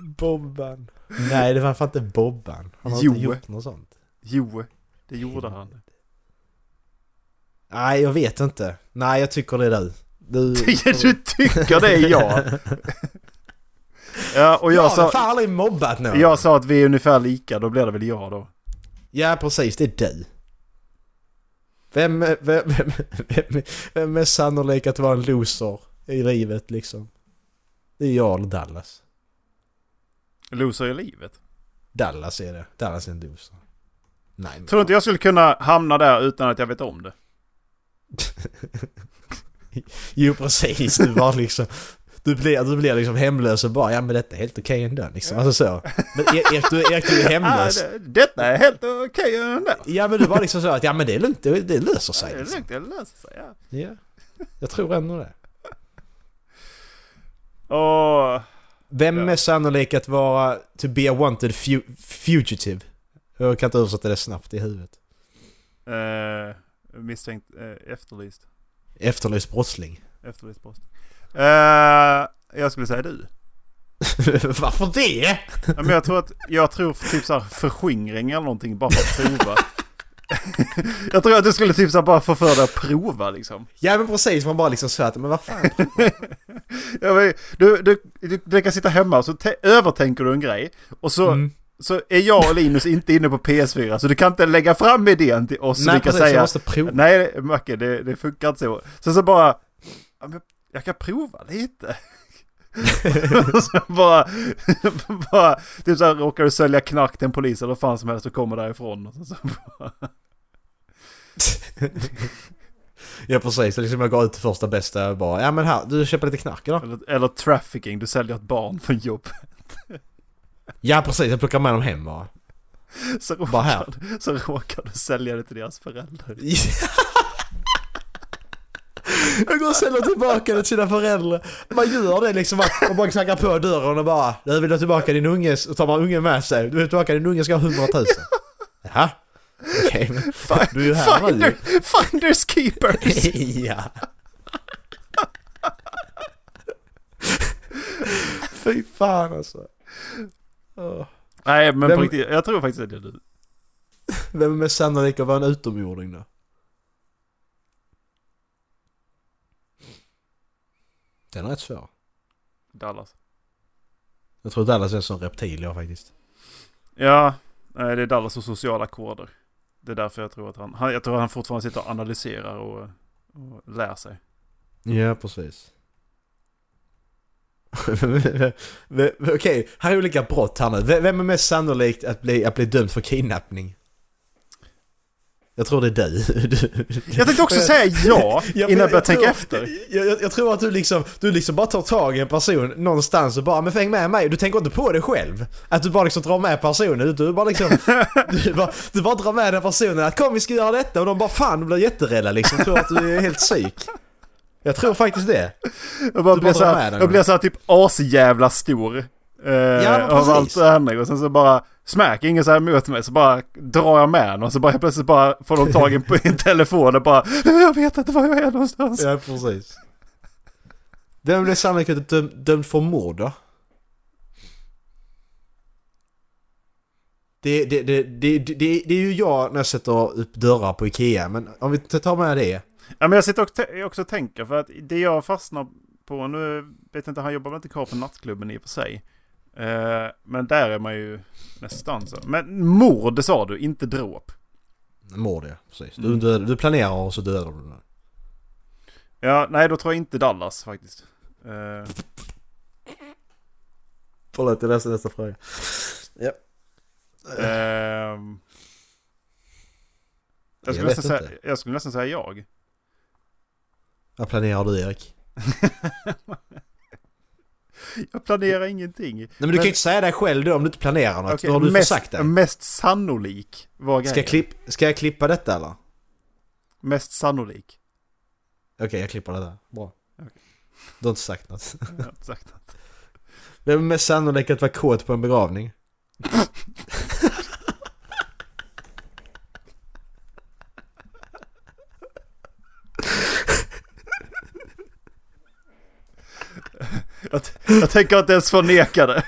Speaker 2: Bobban. Nej, det var fan inte Bobban. Han har inte
Speaker 1: Jo.
Speaker 2: gjort något sånt.
Speaker 1: Jo, det gjorde han. <laughs>
Speaker 2: Nej, jag vet inte. Nej, jag tycker det är du. Du...
Speaker 1: <laughs> du tycker det är
Speaker 2: <laughs>
Speaker 1: jag. ja, och
Speaker 2: jag <laughs>
Speaker 1: jag,
Speaker 2: har
Speaker 1: sa,
Speaker 2: fan aldrig mobbat någon.
Speaker 1: jag sa att vi är ungefär lika, då blir det väl jag då.
Speaker 2: Ja, precis. Det är du. Vem, vem, vem, vem, vem är sannolik att vara en loser i livet liksom? Det är jag eller Dallas.
Speaker 1: Loser i livet.
Speaker 2: Dallas är det. Dallas är en loser. Nej, men...
Speaker 1: Tror inte jag skulle kunna hamna där utan att jag vet om det.
Speaker 2: Jo, precis. Du var liksom... Du blir, du blir liksom hemlös och bara ja men detta är helt okej ändå liksom. Alltså så. Men E- Erik, du,
Speaker 1: <laughs>
Speaker 2: Erik, du är
Speaker 1: Ah,
Speaker 2: hemlös.
Speaker 1: det, detta är helt okej eh, ändå.
Speaker 2: Ja men du var liksom så att ja men det är lugnt, det, det löser
Speaker 1: Det
Speaker 2: sig.
Speaker 1: är
Speaker 2: Liksom.
Speaker 1: lugnt, det löser sig. Ja.
Speaker 2: Ja. Jag tror ändå det.
Speaker 1: Åh,
Speaker 2: Vem
Speaker 1: Ja.
Speaker 2: är sannolik att vara to be a wanted fu- fugitive? Jag kan inte översätta det snabbt i huvudet.
Speaker 1: eh, misstänkt, eh, efterlyst.
Speaker 2: Efterlyst brottsling. <laughs>
Speaker 1: Efterlyst post. Eh, jag skulle säga du.
Speaker 2: Varför det?
Speaker 1: Ja, men jag tror att, jag tror typ såhär förskingring eller någonting bara för att prova. <laughs> jag tror att du skulle typ såhär bara få för dig att prova liksom.
Speaker 2: Ja men precis, man bara liksom så att men vad fan.
Speaker 1: Jag vet, du, du, du, du kan sitta hemma och så te- övertänker du en grej. Och <laughs> så,
Speaker 2: Mm.
Speaker 1: så är jag och Linus inte inne på PS4 så du kan inte lägga fram idén till oss. så
Speaker 2: Nej
Speaker 1: vi kan
Speaker 2: precis,
Speaker 1: säga
Speaker 2: jag måste prova.
Speaker 1: Nej Macke, det, det funkar inte så. Sen så bara, ja, men jag kan prova lite. <laughs> Och så bara, <laughs> bara, typ så här råkar du sälja knark till en polis eller vad fan som helst och kommer därifrån. Och så, så bara,
Speaker 2: Ja precis, så liksom jag går ut till första bästa och bara ja men här, du köper lite knark idag.
Speaker 1: eller, eller trafficking, du säljer ett barn från jobb. <laughs>
Speaker 2: Ja precis, jag plockar med dem hem bara.
Speaker 1: Så
Speaker 2: Bara här.
Speaker 1: råkar, så råkar du sälja det till deras föräldrar.
Speaker 2: Jag går och säljer tillbaka det till sina föräldrar. Man gör det liksom, man bara knackar på dörren och bara Du vill ha tillbaka din unges, och tar man ungen med sig. Du vill ha tillbaka din unge ska ha 100 000. Jaha? Okej, men du är ju här nu.
Speaker 1: Finder, finders keepers!
Speaker 2: ja. Fy fan alltså. Åh.
Speaker 1: Nej men
Speaker 2: Vem-
Speaker 1: på riktigt, jag tror faktiskt att det är du.
Speaker 2: Vem är mest sannolik att vara en utomjording då? Den är rätt svår.
Speaker 1: Dallas.
Speaker 2: Jag tror Dallas är en sån reptil jag faktiskt.
Speaker 1: Ja, nej, det är Dallas och sociala koder. Det är därför jag tror att han, han, jag tror att han fortfarande sitter och analyserar och, och lär sig.
Speaker 2: <laughs> Ja, precis. V- v- Okej, här är olika brott här nu. V- Vem är mest sannolikt att bli, att bli dömd för kidnappning? Jag tror det är du. <laughs> Du-
Speaker 1: Jag tänkte också säga <laughs> ja
Speaker 2: Ja,
Speaker 1: innan jag
Speaker 2: men
Speaker 1: började tänka
Speaker 2: tror-
Speaker 1: efter.
Speaker 2: Jag, jag, jag tror att du liksom, du liksom bara tar tag i en person någonstans och bara “men fäng med mig”. Du tänker inte på det själv. Att du bara liksom drar med personen. Du bara liksom,
Speaker 1: <laughs>
Speaker 2: du bara, du bara drar med den personen att “kom vi ska göra detta” och de bara “fan” blir jätterädda liksom. Tror att du är helt psyk. Jag tror faktiskt det.
Speaker 1: Jag, bara
Speaker 2: Du
Speaker 1: blir
Speaker 2: bara
Speaker 1: så
Speaker 2: drar med
Speaker 1: här,
Speaker 2: den.
Speaker 1: jag blir så här typ asjävla stor. Eh,
Speaker 2: men
Speaker 1: av
Speaker 2: precis.
Speaker 1: allt det här och sen så bara smack, ingen så här mot mig så bara drar jag med den och så bara helt plötsligt bara får de tag i en- <laughs> i en telefon och bara jag vet inte var jag är någonstans.
Speaker 2: <laughs> Ja, precis. Den blev sannolikt döm, dömd för mord då? Det, det, det, det, det, det, det är ju jag när jag sätter upp dörrar på Ikea, men om vi inte tar med det.
Speaker 1: Ja men jag sitter och te- också och tänker för att det jag fastnar på nu vet jag inte, han jobbar väl inte kvar på nattklubben i och för sig. Eh, men där är man ju nästan så. Men mord sa du, inte dråp.
Speaker 2: Mord ja, precis. Du, du, du planerar och så dödar du den.
Speaker 1: Ja, nej då tror jag inte Dallas faktiskt. Eh,
Speaker 2: Förlåt, jag läste nästa fråga. Ja.
Speaker 1: Ehm.
Speaker 2: Jag
Speaker 1: jag, skulle
Speaker 2: vet
Speaker 1: nästan säga,
Speaker 2: inte.
Speaker 1: jag skulle nästan säga jag.
Speaker 2: Vad planerar du Erik?
Speaker 1: Jag planerar ingenting.
Speaker 2: Nej men mm, du kan ju inte säga det själv då om du inte planerar något.
Speaker 1: okej,
Speaker 2: då har du
Speaker 1: mest,
Speaker 2: försagt det.
Speaker 1: mest sannolik var
Speaker 2: Ska jag,
Speaker 1: grejen.
Speaker 2: klipp, ska jag klippa detta eller?
Speaker 1: Mest sannolik.
Speaker 2: Okej, jag klipper det där. Bra. Du har inte sagt något.
Speaker 1: Jag har inte sagt något.
Speaker 2: Vem är mest sannolik att vara kåt på en begravning?
Speaker 1: jag, t- jag tänker inte ens förneka det.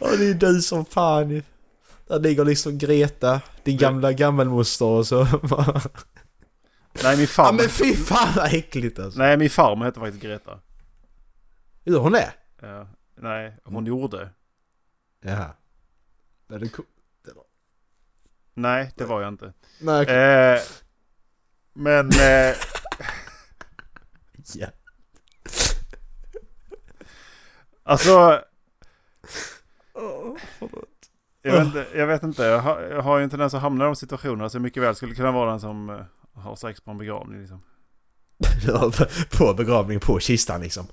Speaker 2: Ja, det är du som fan ju. Där ligger liksom Greta, din gamla gammelmoster och så. <laughs>
Speaker 1: Nej, min
Speaker 2: ja
Speaker 1: farmor.
Speaker 2: men fy fan vad äckligt alltså.
Speaker 1: Nej, min farmor heter faktiskt Greta.
Speaker 2: Gör hon det?
Speaker 1: Ja. nej, hon
Speaker 2: Mm.
Speaker 1: gjorde.
Speaker 2: Jaha. Nej, det är ko-
Speaker 1: Nej, det var jag inte.
Speaker 2: Nej, okej.
Speaker 1: Eh, men... Eh,
Speaker 2: <laughs> Ja.
Speaker 1: Alltså...
Speaker 2: <laughs>
Speaker 1: jag, vet inte, jag vet inte, jag har, jag har ju en tendens att hamna i de situationerna så jag mycket väl skulle kunna vara den som eh, har sex på en begravning
Speaker 2: <laughs>
Speaker 1: liksom.
Speaker 2: Ja, på begravning, på kistan liksom.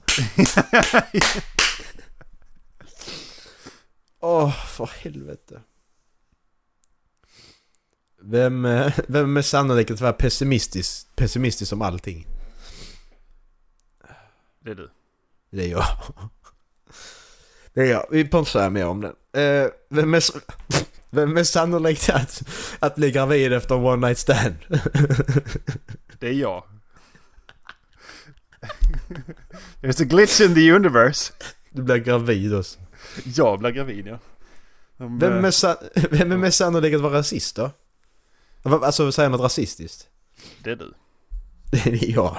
Speaker 2: Åh, för helvete. Vem, eh, <laughs> vem är sannolikt att vara pessimistisk, pessimistisk om allting?
Speaker 1: Det är du.
Speaker 2: Det är jag. Det är jag. Vi behöver inte säga mer om den. Eh, vem, är, s- vem är sannolikt att, att bli gravid efter en one night stand?
Speaker 1: Det är jag. There's a glitch in the universe.
Speaker 2: Du blir gravid också.
Speaker 1: Jag blir gravid ja. De,
Speaker 2: Vem är,
Speaker 1: eh,
Speaker 2: mest san- vem är mest sannolik att vara rasist då? Va- Alltså säga något rasistiskt? <laughs>
Speaker 1: Det är du.
Speaker 2: Det är jag.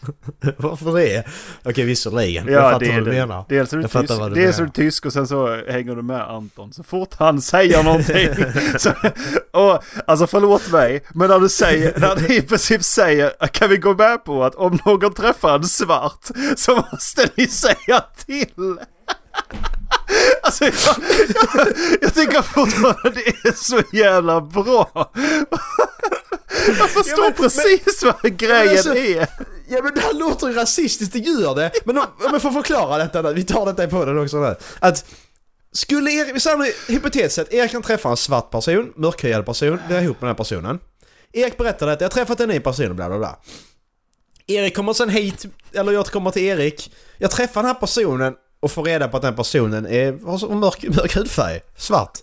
Speaker 2: <laughs> Varför det? Okej visserligen,
Speaker 1: Ja,
Speaker 2: jag fattar
Speaker 1: det är
Speaker 2: vad du
Speaker 1: det.
Speaker 2: menar.
Speaker 1: Dels är du,
Speaker 2: Jag fattar
Speaker 1: tysk,
Speaker 2: vad du
Speaker 1: dels är du
Speaker 2: menar.
Speaker 1: tysk och sen så hänger du med Anton. Så fort han säger
Speaker 2: <laughs>
Speaker 1: någonting. så, och, alltså förlåt mig, men när du säger, när du i princip säger kan vi gå med på att om någon träffar en svart så måste ni säga till. <laughs> Alltså jag, jag, jag tycker fortfarande det är så jävla bra. <laughs> Jag förstår precis vad grejen
Speaker 2: alltså-
Speaker 1: är.
Speaker 2: Ja men det här låter ju rasistiskt, det gör det. Men om, om jag får förklara detta nu, vi tar detta i podden också nu. Att skulle Erik, vi säger hypotetiskt sett, Erik kan träffa en svart person, mörkhyad person, blir ihop med den här personen. Erik berättar att jag har träffat en ny person, bla bla bla. Erik kommer sen hit, eller jag kommer till Erik. Jag träffar den här personen och får reda på att den personen är, har så mörk, mörk hudfärg, svart.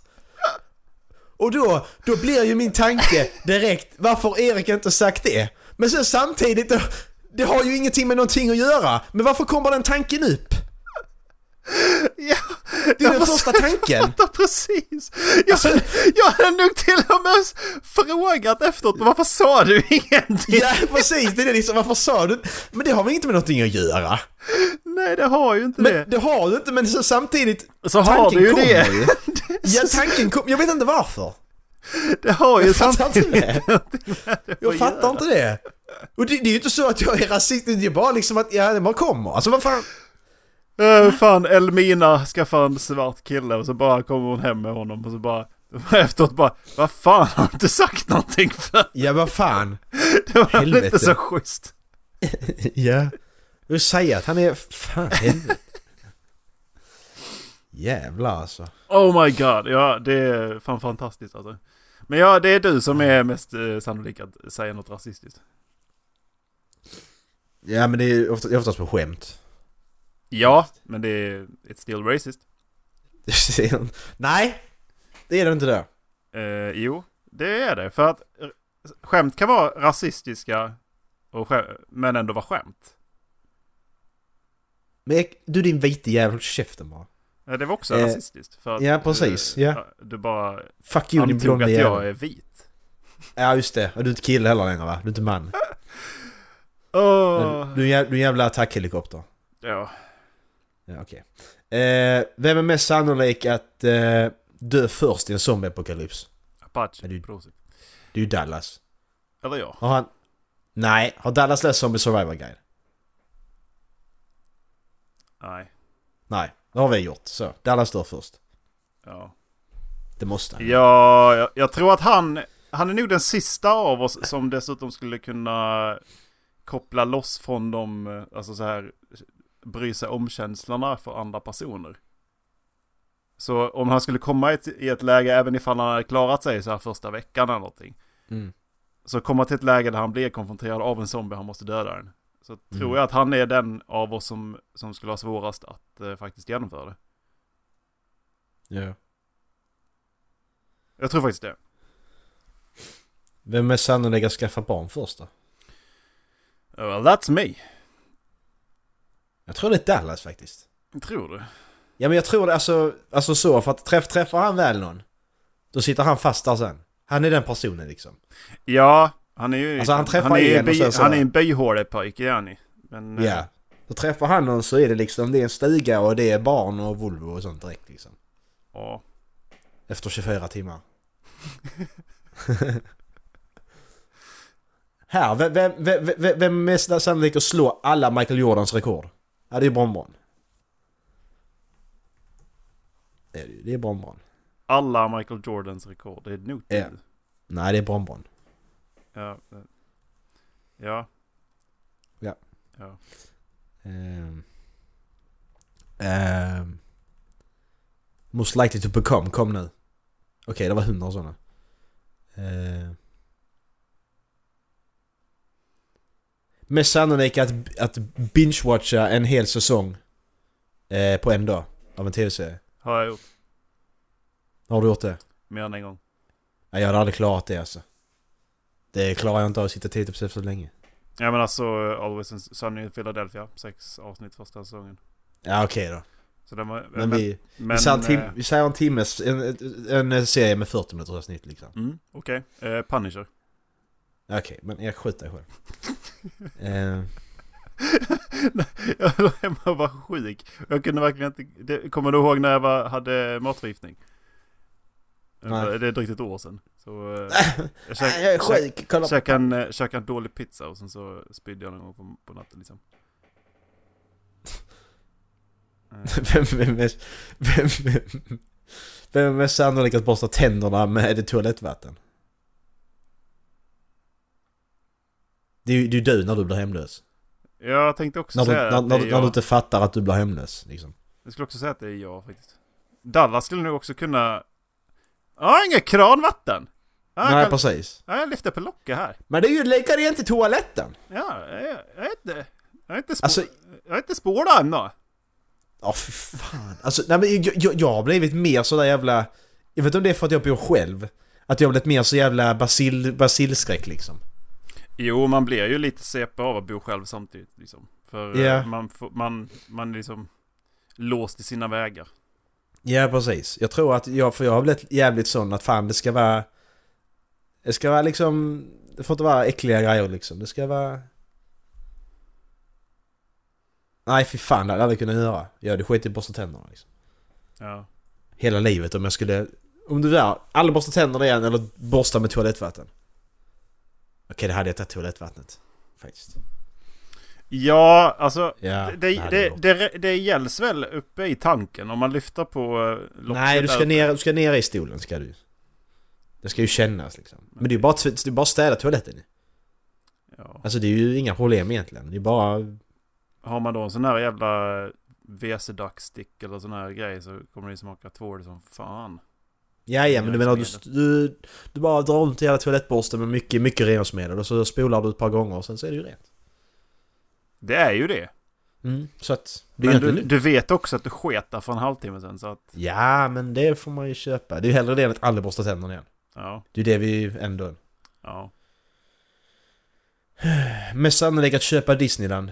Speaker 2: Och då, då blir ju min tanke direkt varför Erik inte sagt det. Men sen samtidigt, då- det har ju ingenting med någonting att göra. Men varför kommer den tanken upp?
Speaker 1: Ja,
Speaker 2: Det är den
Speaker 1: jag
Speaker 2: första
Speaker 1: <laughs>
Speaker 2: tanken.
Speaker 1: fattar precis. Jag,
Speaker 2: Alltså-
Speaker 1: jag hade nog till och med s- frågat efteråt, varför sa du ingenting?
Speaker 2: Ja precis, det är det liksom, varför sa du Men det har väl inte med någonting att göra?
Speaker 1: Nej, det har ju inte
Speaker 2: Men det har du inte, men så samtidigt...
Speaker 1: Så har du ju
Speaker 2: tanken
Speaker 1: <laughs> det.
Speaker 2: kommer ju. Ja, tanken kom, jag vet inte varför.
Speaker 1: det. Det har ju
Speaker 2: Jag fattar inte
Speaker 1: samtidigt
Speaker 2: det. Jag
Speaker 1: att
Speaker 2: fattar
Speaker 1: göra.
Speaker 2: inte det. Och det, det är ju inte så att jag är rasist, det är bara liksom att, ja det bara kommer. Alltså vad fan.
Speaker 1: <laughs> Eh, fan, Elmina skaffar en svart kille och så bara kommer hon hem med honom och så bara <laughs> efteråt bara Vad fan har du inte sagt någonting för? <laughs>
Speaker 2: Ja, vad fan.
Speaker 1: Det var
Speaker 2: Helvete.
Speaker 1: inte så schysst.
Speaker 2: Ja. Du säger att han är... Fan helvete. Jävlar alltså.
Speaker 1: Oh my god, ja det är fan fantastiskt alltså. Men ja, det är du som är mest eh, sannolik att säga något rasistiskt.
Speaker 2: Ja men det är ju ofta- det är oftast på skämt. <laughs>
Speaker 1: Ja, men det är it's still racist.
Speaker 2: Nej! Det är det inte det.
Speaker 1: Eh, jo, det är det. För att eh, skämt kan vara rasistiska och skä- men ändå vara skämt.
Speaker 2: Men jag- du din vita jävel, håll käften bara.
Speaker 1: Eh, Det var också
Speaker 2: Eh,
Speaker 1: rasistiskt. För att
Speaker 2: ja, precis,
Speaker 1: Du, eh,
Speaker 2: ja.
Speaker 1: du bara
Speaker 2: Fuck you din
Speaker 1: antog
Speaker 2: blonda
Speaker 1: att jag
Speaker 2: jävel.
Speaker 1: är vit.
Speaker 2: Ja just det, och du är inte kille heller längre va? Du är inte man.
Speaker 1: Åh,
Speaker 2: Du är en jävla, du är en jävla attackhelikopter.
Speaker 1: Ja.
Speaker 2: Ja, okej. Eh, vem är mest sannolik att eh, dö först i en zombieapokalyps?
Speaker 1: Apache.
Speaker 2: Men du-
Speaker 1: Prosit.
Speaker 2: Det är ju Dallas.
Speaker 1: Eller jag.
Speaker 2: Har han... Nej, har Dallas läst Zombie Survival Guide?
Speaker 1: Nej.
Speaker 2: Nej, det har vi gjort. Så, Dallas dör först.
Speaker 1: Ja.
Speaker 2: Det måste han.
Speaker 1: Ja, jag, jag tror att han, han är nog den sista av oss som dessutom skulle kunna koppla loss från de, eh, alltså så här, bry sig om känslorna för andra personer. Så om han skulle komma i ett, i ett läge, även ifall han hade klarat sig så här första veckan eller någonting,
Speaker 2: Mm.
Speaker 1: så komma till ett läge där han blir konfronterad av en zombie, han måste döda den. Så tror jag att han är den av oss som, som skulle ha svårast att eh, faktiskt genomföra det.
Speaker 2: Ja.
Speaker 1: Jag tror faktiskt det.
Speaker 2: Vem är sannolik att skaffa barn först då?
Speaker 1: Well, that's me.
Speaker 2: Jag tror det är Dallas faktiskt.
Speaker 1: Tror du?
Speaker 2: Ja men jag tror det, alltså, alltså så, för att träff, träffar han väl någon, då sitter han fast där sen. Han är den personen liksom.
Speaker 1: Ja, han är ju...
Speaker 2: Alltså, han
Speaker 1: är
Speaker 2: träffar igen
Speaker 1: en
Speaker 2: och sen så-
Speaker 1: Han är en byhålepojke, är han ju. Men...
Speaker 2: Ja.
Speaker 1: eh,
Speaker 2: Då träffar han någon så är det liksom, det är en stuga och det är barn och Volvo och sånt direkt liksom.
Speaker 1: Ja.
Speaker 2: Efter 24 timmar. <laughs> Här, vem, vem, vem, vem, vem är mest sannolik att slå alla Michael Jordans rekord? Ja, det är Bronbron. Det är det ju, det är Bronbron.
Speaker 1: Alla Michael Jordans rekord, det är nog du.
Speaker 2: Ja. Nej, det är Bronbron.
Speaker 1: Ja. eh, Ja.
Speaker 2: Ja.
Speaker 1: Ja.
Speaker 2: Ehm. Ehm. most likely to become, kom nu. Okej, det var hundra sådana. Ehm. mest sannolikt att, att binge-watcha en hel säsong eh, på en dag av en tv-serie.
Speaker 1: Har jag gjort.
Speaker 2: Har du gjort det?
Speaker 1: Mer än en gång.
Speaker 2: Nej, jag hade aldrig klarat det alltså. Det klarar jag inte av att sitta och titta på så länge.
Speaker 1: Ja men alltså eh, Always in Sunny in Philadelphia. Sex avsnitt första säsongen.
Speaker 2: Ja, okej då.
Speaker 1: Så den var...
Speaker 2: Men, vi,
Speaker 1: men,
Speaker 2: vi, säger en tim-
Speaker 1: eh,
Speaker 2: vi säger en timmes... En, en serie med 40 minuters avsnitt liksom.
Speaker 1: Mm, okej. Eh, Punisher.
Speaker 2: Okej, men jag
Speaker 1: <laughs>
Speaker 2: skjuter själv. eh,
Speaker 1: jag låg hemma och var sjuk. Jag kunde verkligen inte... Det, kommer du ihåg när jag var, hade matförgiftning?
Speaker 2: Nej.
Speaker 1: Det är drygt ett år sedan. Så...
Speaker 2: <laughs>
Speaker 1: eh, jag käk-
Speaker 2: nej, jag är
Speaker 1: käk-
Speaker 2: sjuk, kolla på...
Speaker 1: Käkade en, eh, käkade en dålig pizza och sen så spydde jag någon gång på, på natten liksom. Eh,
Speaker 2: Vem, vem, är, vem, vem, vem är mest sannolik att borsta tänderna med toalettvatten? Det är ju det är ju du när du blir hemlös.
Speaker 1: Jag tänkte också
Speaker 2: När du,
Speaker 1: säga
Speaker 2: när,
Speaker 1: att
Speaker 2: när,
Speaker 1: det är
Speaker 2: du- när du
Speaker 1: jag.
Speaker 2: inte fattar att du blir hemlös liksom.
Speaker 1: Jag skulle också säga att det är jag faktiskt. Dallas skulle nog också kunna... Ja, inget kranvatten! Ja,
Speaker 2: Nej,
Speaker 1: Ah, jag, kan...
Speaker 2: precis.
Speaker 1: ja, jag lyfter på locket här.
Speaker 2: Men det är ju lika rent i toaletten!
Speaker 1: Ja, jag, jag är inte... Jag är inte, spå...
Speaker 2: Alltså-
Speaker 1: jag är inte spårad ändå.
Speaker 2: Ja, fy fan. Alltså, nej, men jag, jag, jag har blivit mer sådär jävla... Jag vet inte om det är för att jag bor själv. Att jag har blivit mer så jävla basil, basilskräck liksom.
Speaker 1: Jo, man blir ju lite CP av att bo själv samtidigt liksom. För eh,
Speaker 2: Ja.
Speaker 1: man, får, man, man är liksom låst i sina vägar.
Speaker 2: Ja, precis. Jag tror att jag, för jag har blivit jävligt sån att fan det ska vara... Det ska vara liksom... Det får inte vara äckliga grejer liksom. Det ska vara... Nej, fy fan. Det hade jag aldrig kunnat göra. Jag hade skitit i att borsta tänderna liksom.
Speaker 1: Ja.
Speaker 2: Hela livet om jag skulle... Om du där, aldrig borsta tänderna igen eller borsta med toalettvatten. Okej, det hade jag tagit toalettvattnet. Faktiskt.
Speaker 1: Ja, alltså
Speaker 2: Ja,
Speaker 1: det,
Speaker 2: nej, det
Speaker 1: det,
Speaker 2: är gott.
Speaker 1: det, det gälls väl uppe i tanken om man lyfter på eh, locket
Speaker 2: Nej, du ska,
Speaker 1: där.
Speaker 2: ner, du ska ner i stolen ska du. Det ska ju kännas liksom. Men det är ju bara, tv- det är bara att städa toaletten.
Speaker 1: Ja.
Speaker 2: Alltså det är ju inga problem egentligen. Det är bara...
Speaker 1: Har man då en sån här jävla wc duckstick eller sån här grej så kommer det ju smaka tvål som fan.
Speaker 2: Ja, ja, men du menar du, du, du bara drar runt hela toalettborsten med mycket, mycket rengöringsmedel och så spolar du ett par gånger och sen så är det ju rent.
Speaker 1: Det är ju det.
Speaker 2: Mm, så att... Det är
Speaker 1: Men
Speaker 2: ju
Speaker 1: du,
Speaker 2: du...
Speaker 1: du vet också att du sket där för en halvtimme sedan så att
Speaker 2: Ja, men det får man ju köpa. Det är ju hellre det än att aldrig borsta tänderna igen.
Speaker 1: ja,
Speaker 2: Det är ju det vi ändå...
Speaker 1: ja.
Speaker 2: Mest sannolikt att köpa Disneyland.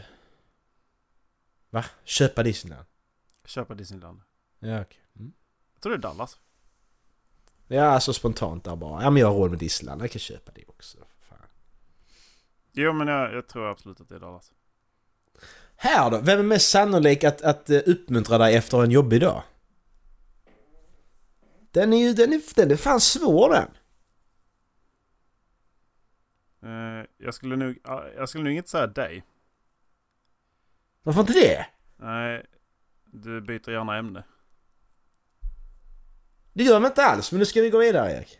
Speaker 2: Va? Köpa Disneyland?
Speaker 1: Köpa Disneyland.
Speaker 2: Ja, okej. Mm.
Speaker 1: Jag tror det är Dallas.
Speaker 2: Ja, alltså spontant där bara. Ja, men jag har råd med Disneyland. Jag kan köpa det också. Fan.
Speaker 1: Jo men jag, jag tror absolut att det är Dallas.
Speaker 2: Här då? Vem är mest sannolik att, att eh, uppmuntra dig efter en jobbig dag? Den är ju... Den är, den är fan svår den.
Speaker 1: Eh, jag skulle nog, jag skulle nog inte säga dig.
Speaker 2: Varför inte det?
Speaker 1: Nej, du byter gärna ämne. <laughs>
Speaker 2: Det gör man inte alls, men nu ska vi gå vidare Erik.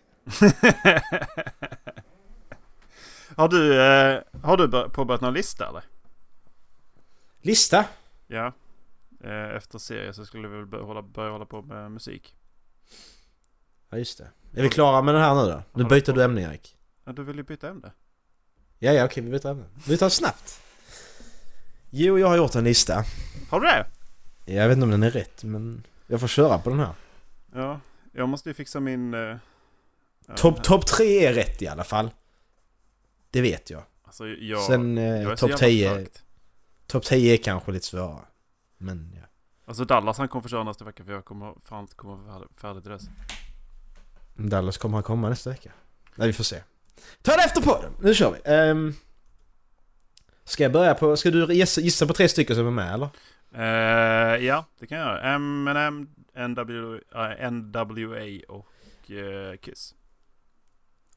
Speaker 1: har du, eh, har du bör- påbörjat någon lista eller?
Speaker 2: Lista.
Speaker 1: Ja. Eh, efter serie så skulle vi väl börja hålla, börja hålla på med musik.
Speaker 2: Ja, just det. Är vi klara med den här nu då? Nu byter du ämne Erik.
Speaker 1: Ja, du vill ju byta ämne.
Speaker 2: Ja, ja, okej, vi byter ämne. Vi tar snabbt. Jo, jag har gjort en lista.
Speaker 1: Har du det?
Speaker 2: Jag vet inte om den är rätt men jag får köra på den här.
Speaker 1: Ja, jag måste ju fixa min... Eh, ja,
Speaker 2: Topp top 3 är rätt i alla fall. Det vet jag.
Speaker 1: Alltså jag...
Speaker 2: Sen
Speaker 1: jag
Speaker 2: eh,
Speaker 1: är så
Speaker 2: topp
Speaker 1: jävla
Speaker 2: 10,
Speaker 1: fucked.
Speaker 2: top 10 är kanske lite svårare. Men ja.
Speaker 1: Alltså Dallas han kommer förstöra nästa vecka för jag kommer fan inte komma färdig- färdig till dess.
Speaker 2: Dallas kommer han komma nästa vecka. Nej vi får se. Ta det efter podden! Nu kör vi! Ehm, ska jag börja på, ska du gissa, gissa på tre stycken som är med eller?
Speaker 1: Eh, ja, det kan jag göra. M&M, NW, eh, NWA och eh, Kiss.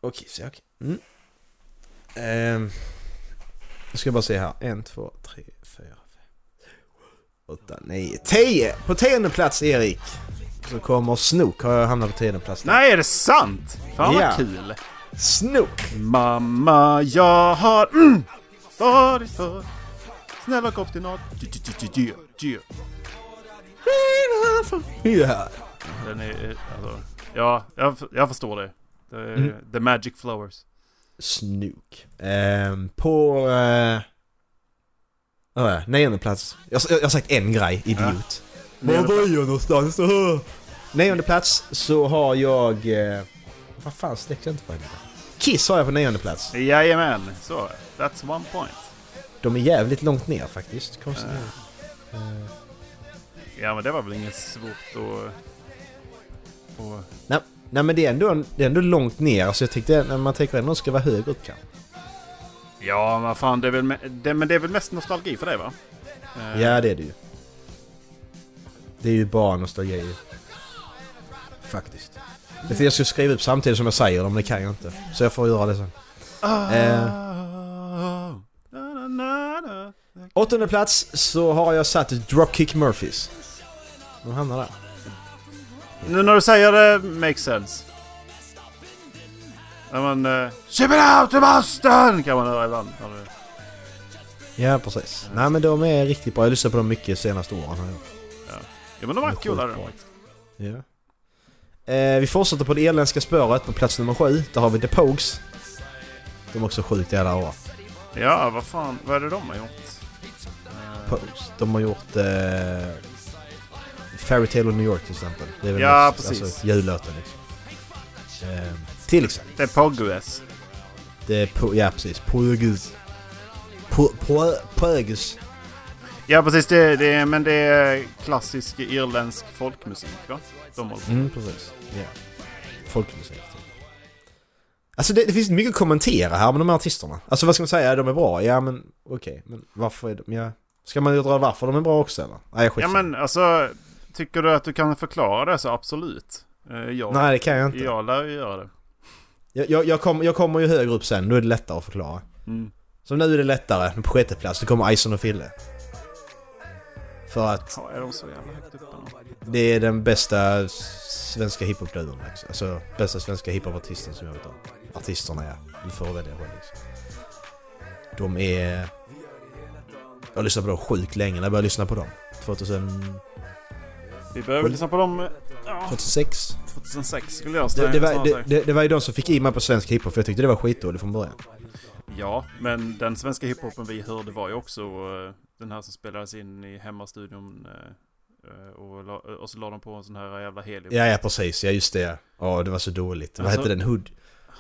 Speaker 2: Okej, så okej. Mm. Ehm, jag ska bara se här. En, två, tre, fyra, fem, åtta, nio, tio! På tionde plats Erik. Så kommer Snook, har jag hamnat på tionde plats där.
Speaker 1: Nej, är det sant? Fan vad
Speaker 2: Ja.
Speaker 1: kul!
Speaker 2: Snook!
Speaker 1: Mamma, jag har mm, varit för... Snälla kom till något. Du, du, du, du, du, du.
Speaker 2: Ja.
Speaker 1: Den är... eh, Alltså, ja, jag, f- jag förstår det. The,
Speaker 2: Mm.
Speaker 1: the Magic Flowers.
Speaker 2: Snook. Ehm, på... Eh, ja, nionde plats. Jag, jag, jag har sagt en grej, idiot.
Speaker 1: Nionde Var var
Speaker 2: jag någonstans? Nionde plats så har jag... Eh, vad fan släckte jag inte på henne? Kiss har jag på nionde plats.
Speaker 1: Jajamän, så. That's one point.
Speaker 2: De är jävligt långt ner faktiskt. Konstigt. Eh,
Speaker 1: Ja, men det var väl inget svårt att... Och,
Speaker 2: nej, nej men det är ändå, det är ändå långt ner. Så jag tyckte, när man tänker ändå ska vara högre upp kanske.
Speaker 1: ja, men fan, det är väl, me- det, men det är väl mest nostalgi för dig, va? Eh,
Speaker 2: Ja det är det ju. Det är ju bara nostalgi. ju. Faktiskt. Det är det jag ska skriva upp samtidigt som jag säger dem, men det kan jag inte. Så jag får göra det sen.
Speaker 1: Ah,
Speaker 2: eh.
Speaker 1: na, na, na, na.
Speaker 2: Åttonde plats så har jag satt Dropkick Murphys. De hamnar där.
Speaker 1: Nu när du säger det, makes sense. När man... eh, Ship it out to Boston! Kan man höra ibland. när du-
Speaker 2: Ja precis. Nej men de är riktigt bra. Jag lyssnar på dem mycket senaste åren. har jag gjort.
Speaker 1: Ja, men de var coolare än faktiskt.
Speaker 2: Ja. Eh, vi fortsätter på det irländska spåret på plats nummer sju. Där har vi The Pogues. De är också sjukt jävla bra.
Speaker 1: Ja, vad fan. Vad är det de har gjort? Eh,
Speaker 2: Pogues. De har gjort eh, Fairy Tale of New York till exempel. Det är väl
Speaker 1: Ja,
Speaker 2: mest,
Speaker 1: precis.
Speaker 2: Alltså, jullåten liksom. Eh, till exempel.
Speaker 1: Det är Pogues.
Speaker 2: Det är po- ja precis. Pogues. Po- po- Pogues.
Speaker 1: Ja, precis. Det, det, är- men det är klassisk irländsk folkmusik, va? De håller på.
Speaker 2: Mm, precis. Ja. Folkmusik. Typ. Alltså det, det finns mycket att kommentera här med de här artisterna. Alltså vad ska man säga, de är bra. Ja men okej, men varför är de... Ja. Ska man ju dra varför de är bra också eller? Nej, skit
Speaker 1: Ja, men alltså. Tycker du att du kan förklara det så absolut. Uh, jag,
Speaker 2: Nej det kan jag inte.
Speaker 1: jag lär ju göra det.
Speaker 2: Jag, jag, jag, kom, jag kommer ju högre upp sen, då är det lättare att förklara.
Speaker 1: Mm.
Speaker 2: Så nu är det lättare. På sjätte plats, det kommer Ison och Fille. För att
Speaker 1: Ja, är de så jävla högt uppe nu?
Speaker 2: det är den bästa svenska hiphop-duon. Liksom. Alltså bästa svenska hiphop-artisten som jag vet om. Artisterna ja. Du får välja själv liksom. De är... Jag har lyssnat på dem sjukt länge. När jag började lyssna på dem? 2000...
Speaker 1: Vi behöver lyssna på dem... eh, Ja,
Speaker 2: 2006?
Speaker 1: 2006 skulle jag
Speaker 2: Det,
Speaker 1: säga.
Speaker 2: det, var,
Speaker 1: snarare
Speaker 2: det,
Speaker 1: säga.
Speaker 2: det, det var ju de som fick i mig på svensk hiphop för jag tyckte det var skitdåligt från början.
Speaker 1: Ja, men den svenska hiphopen vi hörde var ju också eh, den här som spelades in i hemmastudion. eh, eh, Och, la, och så la de på en sån här jävla helium.
Speaker 2: Ja, ja precis. Ja, just det. ja. Ja, det var så dåligt. Vad
Speaker 1: Alltså-
Speaker 2: hette den? Hood,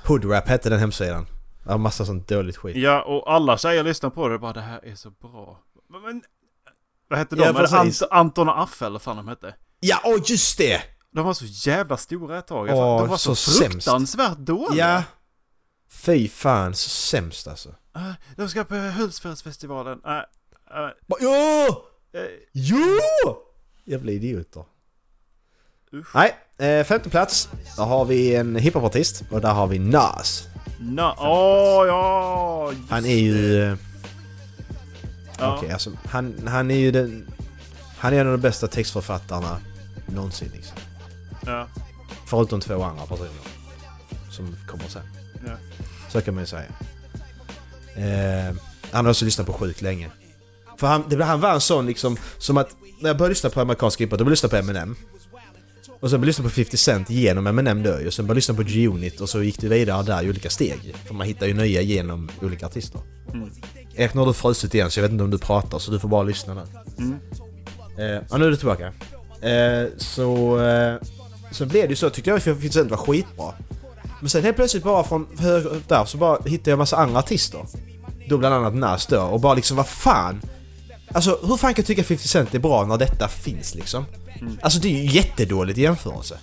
Speaker 2: Hoodrap hette den hemsidan. Ja, massa sånt dåligt skit.
Speaker 1: Ja, och alla tjejer lyssnar på det och bara det här är så bra. Men- Men, vad hette de?
Speaker 2: Ja,
Speaker 1: Är det
Speaker 2: precis.
Speaker 1: Ant- Anton och Affe eller vad fan de hette?
Speaker 2: Ja, åh just det!
Speaker 1: De var så jävla stora ett tag.
Speaker 2: Åh,
Speaker 1: de var så,
Speaker 2: så sämst.
Speaker 1: fruktansvärt dåliga.
Speaker 2: Ja. Fy fan, så sämst alltså.
Speaker 1: Ah, De ska på Hultsfredsfestivalen. Ah, ah,
Speaker 2: Bara, Ja!
Speaker 1: eh,
Speaker 2: Jo! Jävla idioter.
Speaker 1: Usch.
Speaker 2: Nej, eh, femte plats. Där har vi en hiphopartist och där har vi Nas.
Speaker 1: na, åh ja! just
Speaker 2: Han är ju... eh,
Speaker 1: det. Ja.
Speaker 2: Okej, alltså han, han är ju den... Han är en av de bästa textförfattarna någonsin liksom.
Speaker 1: Ja,
Speaker 2: Förutom två andra personer. Som kommer sen.
Speaker 1: ja.
Speaker 2: Så kan man ju säga. Eh, han har också lyssnat på sjukt länge. För han, det, han var en sån liksom, som att när jag började lyssna på amerikansk hiphop, då började jag lyssna på Eminem. Och sen började jag lyssna på 50 Cent genom Eminem då ju. Sen började jag lyssna på G-Unit och så gick det vidare där i olika steg. För man hittar ju nya genom olika artister.
Speaker 1: Mm.
Speaker 2: Erik, nu har du frusit igen så jag vet inte om du pratar så du får bara lyssna nu.
Speaker 1: Mm.
Speaker 2: Eh, ja, nu är du tillbaka. Eh, så... Eh, sen blev det ju så, tyckte jag att 50 Cent var skitbra. Men sen helt plötsligt bara från höger upp där så bara hittade jag massa andra artister. Då bland annat Nas då och bara liksom vad fan. Alltså hur fan kan jag tycka 50 Cent är bra när detta finns liksom? Alltså det är ju jättedåligt i jämförelse.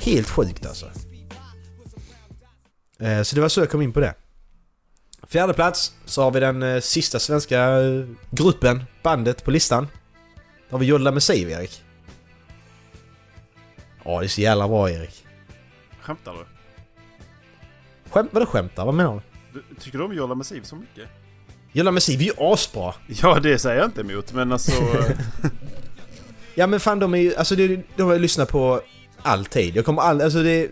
Speaker 2: Helt sjukt alltså. Eh, så det var så jag kom in på det. Fjärde plats så har vi den eh, sista svenska eh, gruppen, bandet på listan. Då har vi Jodla med Siv, Erik. Ja, det är så jävla bra Erik.
Speaker 1: Skämtar du?
Speaker 2: Skämt, vadå skämtar? Vad menar du?
Speaker 1: du? Tycker du om Jolla Massiv så mycket?
Speaker 2: Jodla med Siv är ju asbra!
Speaker 1: Ja, det säger jag inte emot, men alltså...
Speaker 2: <laughs>
Speaker 1: eh,
Speaker 2: Ja men fan de är ju, alltså det, de har jag lyssnat på alltid. Jag kommer all, alltså det är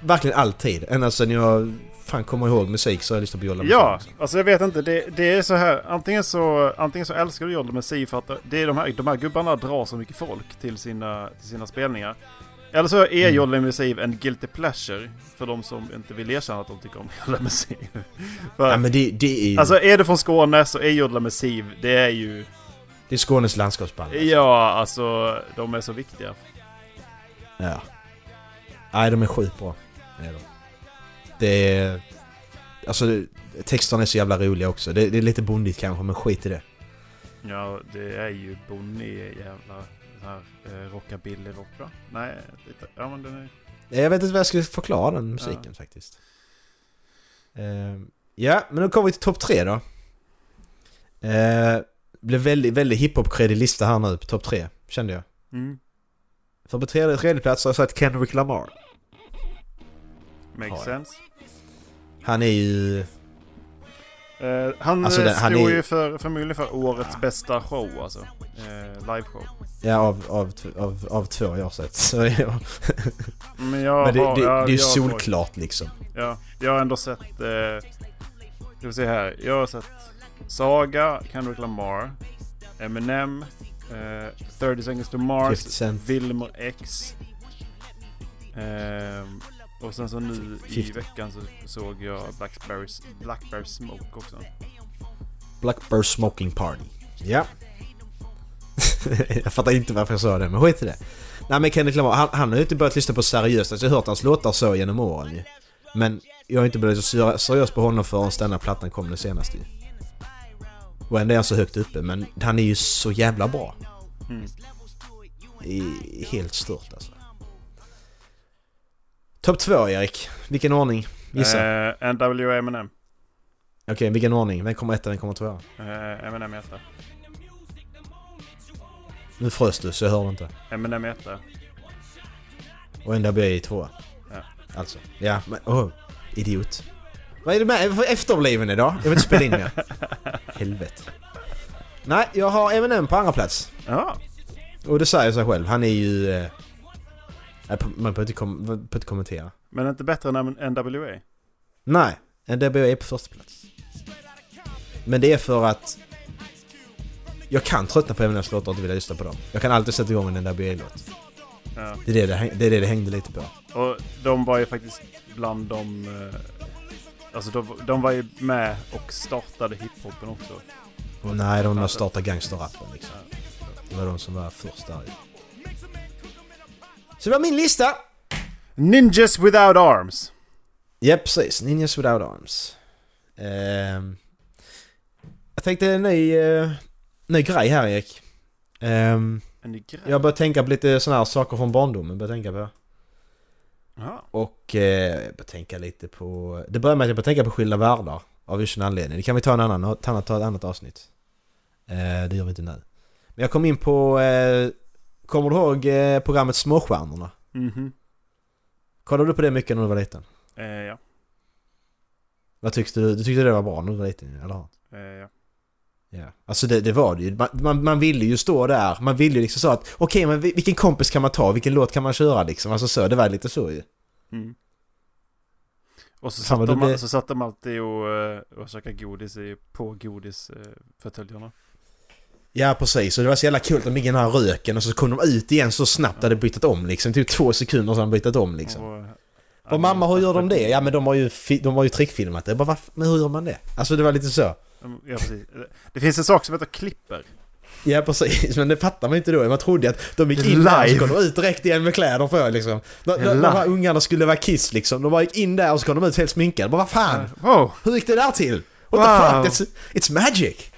Speaker 2: verkligen alltid. Ända sedan jag fan kommer ihåg musik så har jag lyssnat på Jodla med
Speaker 1: ja,
Speaker 2: Siv.
Speaker 1: alltså jag vet inte. Det, det är så här, antingen så, antingen så älskar du Jolla Massiv för att det är de här, de här gubbarna drar så mycket folk till sina, till sina spelningar. Eller så är
Speaker 2: Mm.
Speaker 1: Jolla Massiv en guilty pleasure för de som inte vill erkänna att de tycker om <laughs> Jolla Massiv. För-
Speaker 2: Ja men det, det är ju,
Speaker 1: Alltså är du från Skåne så är Jodla med Siv, det är ju...
Speaker 2: det är Skånes landskapsband.
Speaker 1: Ja, alltså de är så viktiga.
Speaker 2: Ja. Nej, de är skitbra. Det är de. Det är... Alltså, det- texterna är så jävla roliga också. Det, det är lite bondigt kanske, men skit i det.
Speaker 1: Ja, det är ju Bonnie jävla... Den här eh, rockabilly-rock va? Nej, lite. Ja men den är...
Speaker 2: Jag vet inte vad jag skulle förklara den musiken faktiskt. Ehm, ja, men då kommer vi till topp tre då. Uh, blev väldigt, väldigt hiphop-kreddig lista här nu på topp tre, kände jag.
Speaker 1: Mm.
Speaker 2: För på tredje, tredje plats har jag satt Kendrick Lamar.
Speaker 1: Makes
Speaker 2: Ja, ja.
Speaker 1: sense.
Speaker 2: Han är ju...
Speaker 1: Eh, han
Speaker 2: Alltså,
Speaker 1: alltså,
Speaker 2: den-
Speaker 1: stod
Speaker 2: han är-
Speaker 1: ju för, förmodligen för årets bästa show alltså. Eh, Liveshow.
Speaker 2: Ja, av, av, av, av två jag har sett. Så <laughs> jag,
Speaker 1: Men, jag
Speaker 2: men det,
Speaker 1: har-
Speaker 2: det, det
Speaker 1: ja,
Speaker 2: är ju
Speaker 1: jag har-
Speaker 2: solklart liksom.
Speaker 1: Ja, jag har ändå sett... Eh, ska vi se här. Jag har sett Saga, Kendrick Lamar, Eminem, eh, 30 Seconds to
Speaker 2: 50
Speaker 1: Mars,
Speaker 2: Cent.
Speaker 1: Wilmer X. Ehm, och sen så nu i
Speaker 2: 50.
Speaker 1: veckan så såg jag Blackberry, Blackberry Smoke också.
Speaker 2: Blackbird Smoking Party. Ja. <laughs> jag fattar inte varför jag sa det, men skit i det. Nej men Kendrick Lamar, han, han har ju inte börjat lyssna på seriöst. Alltså, jag har hört hans låtar så genom åren ju. Men jag har inte börjat se seriös på honom förrän den här plattan kom den senaste ju. Och ändå är han så högt uppe, men han är ju så jävla bra.
Speaker 1: Mm.
Speaker 2: I, helt stört alltså. Topp två Erik, vilken ordning? Gissa.
Speaker 1: Eh, NWA och Eminem.
Speaker 2: Okej, vilken ordning? Vem kommer etta, vem kommer tvåa?
Speaker 1: Eh, Eminem är etta.
Speaker 2: Nu frös du så jag hörde inte.
Speaker 1: Eminem är etta.
Speaker 2: Och NWA är tvåa.
Speaker 1: Ja.
Speaker 2: Alltså. Ja, men åh. Idiot. Vad är det med för efterbliven idag? Jag vill inte spela in mer. Helvete. Nej, jag har Eminem på andra plats.
Speaker 1: Ja.
Speaker 2: Och det säger sig själv. Han är ju... eh, nej, Man behöver inte, kom, man behöver inte kommentera.
Speaker 1: Men inte bättre än NWA.
Speaker 2: Nej, NWA är på första plats. Men det är för att jag kan tröttna på Eminems låtar och inte vilja lyssna på dem. Jag kan alltid sätta igång en NWA-låt.
Speaker 1: Ja.
Speaker 2: Det är det det, häng- det är det det hängde lite på.
Speaker 1: Och de var ju faktiskt bland de... eh, Alltså de, de var ju med och startade hiphopen också.
Speaker 2: Nej, de där startade gangsterrappen liksom. Det var de som var först där ju. Så det var min lista!
Speaker 1: Ninjas without arms.
Speaker 2: Ja, precis. Ninjas Without Arms. Ehm, jag tänkte en ny, eh, ny grej här Erik. Ehm,
Speaker 1: En ny grej.
Speaker 2: jag började tänka på lite sådana här saker från barndomen. Började tänka på.
Speaker 1: Jaha.
Speaker 2: Och eh, jag började tänka lite på... Det började med att jag började tänka på Skilda Världar. Av vilken anledning. Det kan vi ta en annan, ta, ta ett annat avsnitt. Eh, det gör vi inte nu. Men jag kom in på... Eh, kommer du ihåg eh, programmet Småstjärnorna?
Speaker 1: Mhm.
Speaker 2: Kollade du på det mycket när du var liten?
Speaker 1: Eh, ja.
Speaker 2: Vad tyckte du? Du tyckte det var bra när du var liten, eller hur?
Speaker 1: Eh, ja.
Speaker 2: Ja, alltså det, det var det ju. Man, man, man ville ju stå där, man ville ju liksom så att okej men vi- vilken kompis kan man ta, vilken låt kan man köra liksom? Alltså så, det var lite så ju.
Speaker 1: Mm. Och så
Speaker 2: Fan,
Speaker 1: satt,
Speaker 2: vad
Speaker 1: de,
Speaker 2: du blir-
Speaker 1: så satt de alltid och, eh, och käkade godis i- på godisförtöljarna.
Speaker 2: Ja precis, och det var så jävla kul att de gick i den här röken och så kom de ut igen så snabbt det hade byttat om liksom. Typ två sekunder så hade de byttat om liksom.
Speaker 1: eh,
Speaker 2: Och mamma, hur gör de det? Ja men de har ju, fi- de har ju trickfilmat det. Jag bara, "Va- men hur gör man det? Alltså det var lite så.
Speaker 1: Ja, precis. Det finns en sak som heter klipper.
Speaker 2: Ja precis, men det fattar man inte då. Man trodde att de gick in där och så
Speaker 1: Live.
Speaker 2: kom de ut direkt igen med kläder på liksom. De, de, de här
Speaker 1: Live.
Speaker 2: ungarna skulle vara kiss liksom. De bara gick in där och så kom de ut helt sminkade. Bara, vad fan?
Speaker 1: Eh, Wow!
Speaker 2: Hur gick det där till? What
Speaker 1: Wow.
Speaker 2: the fuck? It's, it's magic!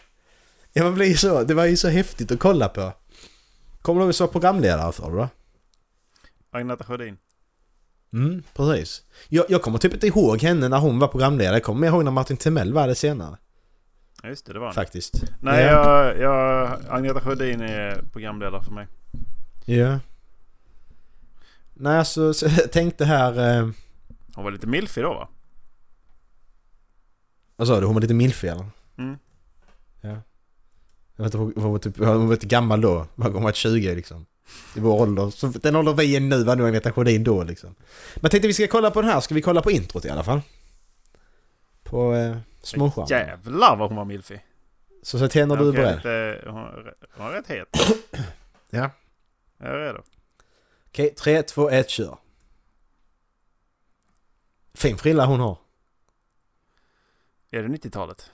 Speaker 2: Ja, man blir ju så, det var ju så häftigt att kolla på. Kommer du ihåg som programledare för det då?
Speaker 1: Agneta Sjödin.
Speaker 2: Mm, precis. Jag, jag kommer typ inte ihåg henne när hon var programledare. Jag kommer mer ihåg när Martin Timell var det senare.
Speaker 1: Ja, just det, det var han.
Speaker 2: Faktiskt.
Speaker 1: Nej,
Speaker 2: ja.
Speaker 1: jag, jag, Agneta Sjödin är programledare för mig.
Speaker 2: Ja. Nej, alltså, så, jag tänkte här... Eh,
Speaker 1: Hon var lite milfig då va?
Speaker 2: vad sa du? Hon var lite milfig eller?
Speaker 1: Mm.
Speaker 2: Ja. Jag vet inte, hon var typ, hon var typ gammal då. Hon var 20 liksom. I vår ålder. Så den ålder vi är nu var nog Agneta Sjödin då liksom. Men jag tänkte vi ska kolla på den här. Ska vi kolla på introt i alla fall? På eh, småskärmen.
Speaker 1: Jävlar vad hon var milfig!
Speaker 2: Så så tänder du är
Speaker 1: Okej,
Speaker 2: beredd.
Speaker 1: lite- Hon, hon är rätt het.
Speaker 2: <coughs> Ja.
Speaker 1: Jag är redo.
Speaker 2: Okej, 3, 2, 1, kör. Fin frilla hon har.
Speaker 1: Är det 90-talet?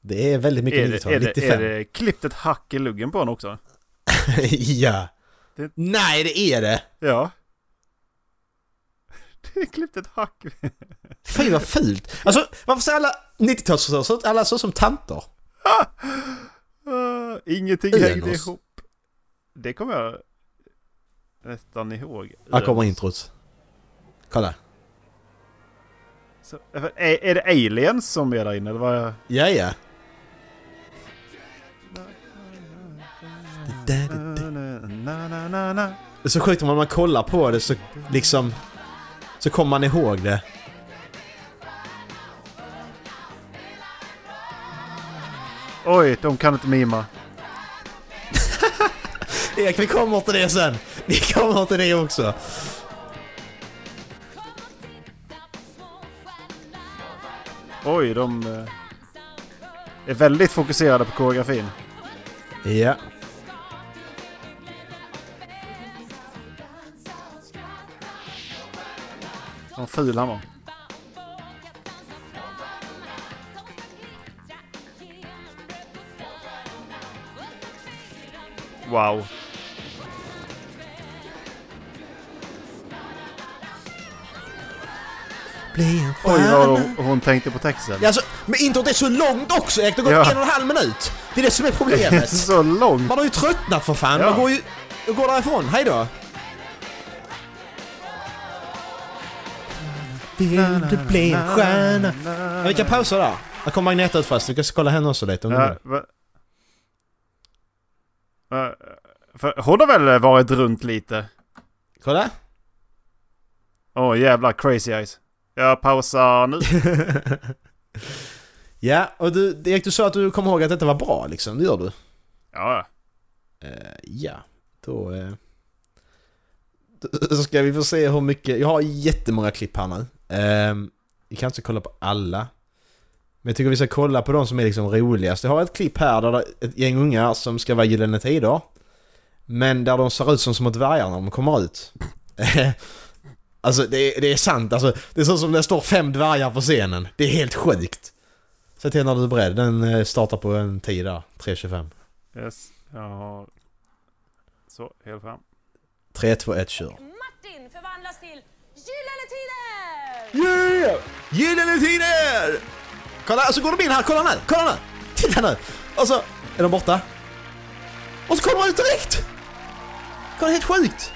Speaker 2: Det är väldigt mycket
Speaker 1: Är det,
Speaker 2: 90-tal.
Speaker 1: är, det, är
Speaker 2: 95.
Speaker 1: det klippt ett hack i luggen på henne också?
Speaker 2: <laughs> ja.
Speaker 1: Det-
Speaker 2: Nej, det är det!
Speaker 1: Ja. <laughs> Det är klippt ett hack. <laughs>
Speaker 2: Fy vad fult! Alltså, varför ser alla 90-talsfrisörer alla så som tanter?
Speaker 1: Ah, ingenting
Speaker 2: Önos.
Speaker 1: hängde ihop. Det kommer jag nästan ihåg.
Speaker 2: Här kommer introt. Kolla.
Speaker 1: Så, är, är det aliens som är där inne eller vad?
Speaker 2: Ja, ja.
Speaker 1: Na, na, na, na.
Speaker 2: Det är så sjukt om man kollar på det så liksom... Så kommer man ihåg det.
Speaker 1: Oj, de kan inte mima.
Speaker 2: Erik, vi kommer till det sen! Vi kommer till det också!
Speaker 1: Oj, de eh, är väldigt fokuserade på koreografin.
Speaker 2: Ja.
Speaker 1: Vad ful han var. Wow.
Speaker 2: Bli en
Speaker 1: Oj, vad hon, hon tänkte på texten.
Speaker 2: Ja, alltså, men introt är så långt också Erik, det går
Speaker 1: Ja.
Speaker 2: en och en halv minut! Det är det som är
Speaker 1: Det är
Speaker 2: problemet.
Speaker 1: <laughs> så långt.
Speaker 2: Man har ju tröttnat för fan,
Speaker 1: Ja.
Speaker 2: man går ju... Jag går därifrån, hejdå! Vill du bli en stjärna? Ja, vi kan pausa där. Där kommer Agneta ut först, vi ska kolla henne också lite om
Speaker 1: Ja,
Speaker 2: det.
Speaker 1: va? Va? För hon har väl varit runt lite? <laughs>
Speaker 2: Kolla!
Speaker 1: Åh jävlar, crazy eyes. Jag pausar nu.
Speaker 2: Ja, och du, Erik, du sa att du kommer ihåg att detta var bra liksom. Det gör du.
Speaker 1: Ja, ja.
Speaker 2: Eh, ja, då... Eh, då ska vi få se hur mycket... Jag har jättemånga klipp här nu. Eh, vi kan inte kolla på alla. Men jag tycker vi ska kolla på de som är liksom roligast. Jag har ett klipp här där det är ett gäng ungar som ska vara Gyllene Tider. Men där de ser ut som små dvärgar när de kommer ut. <laughs> Eh, alltså det, är- det är sant. Alltså, det är så som det står fem dvärgar på scenen. Det är helt sjukt. Säg till när du är beredd. Den eh, startar på en tid där. 3.25.
Speaker 1: Yes. Jag har... Så, helt fram.
Speaker 2: 3, 2, 1, kör.
Speaker 3: Martin förvandlas till Gyllene Tider!
Speaker 2: Yeah! Gyllene Tider! Kolla, så går de in här, kolla nu, kolla nu! Titta nu! Och så är de borta. Och så kommer de ut direkt! Kolla, helt sjukt!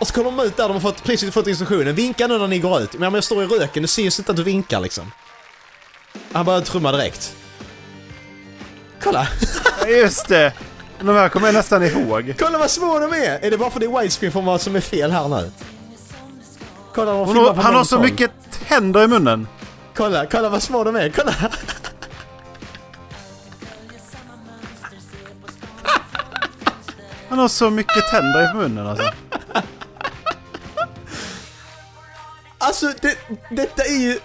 Speaker 2: Och så kommer de ut där, de har fått, precis fått instruktionen. Vinka nu när ni går ut. Men om jag står i röken, det syns inte att du vinkar liksom. Han börjar trumma direkt. Kolla! <laughs>
Speaker 1: Ja, Just det! De här kommer jag nästan ihåg.
Speaker 2: kolla vad små de är! Är det bara för det är widescreen från vad som är fel här nu? Kolla, de
Speaker 1: Hon
Speaker 2: filmar
Speaker 1: har,
Speaker 2: på
Speaker 1: han har
Speaker 2: någon
Speaker 1: så
Speaker 2: håll.
Speaker 1: mycket tänder i munnen.
Speaker 2: Kolla, kolla vad små de är, kolla!
Speaker 1: Han har så mycket tänder i munnen alltså.
Speaker 2: Alltså, det, detta är ju...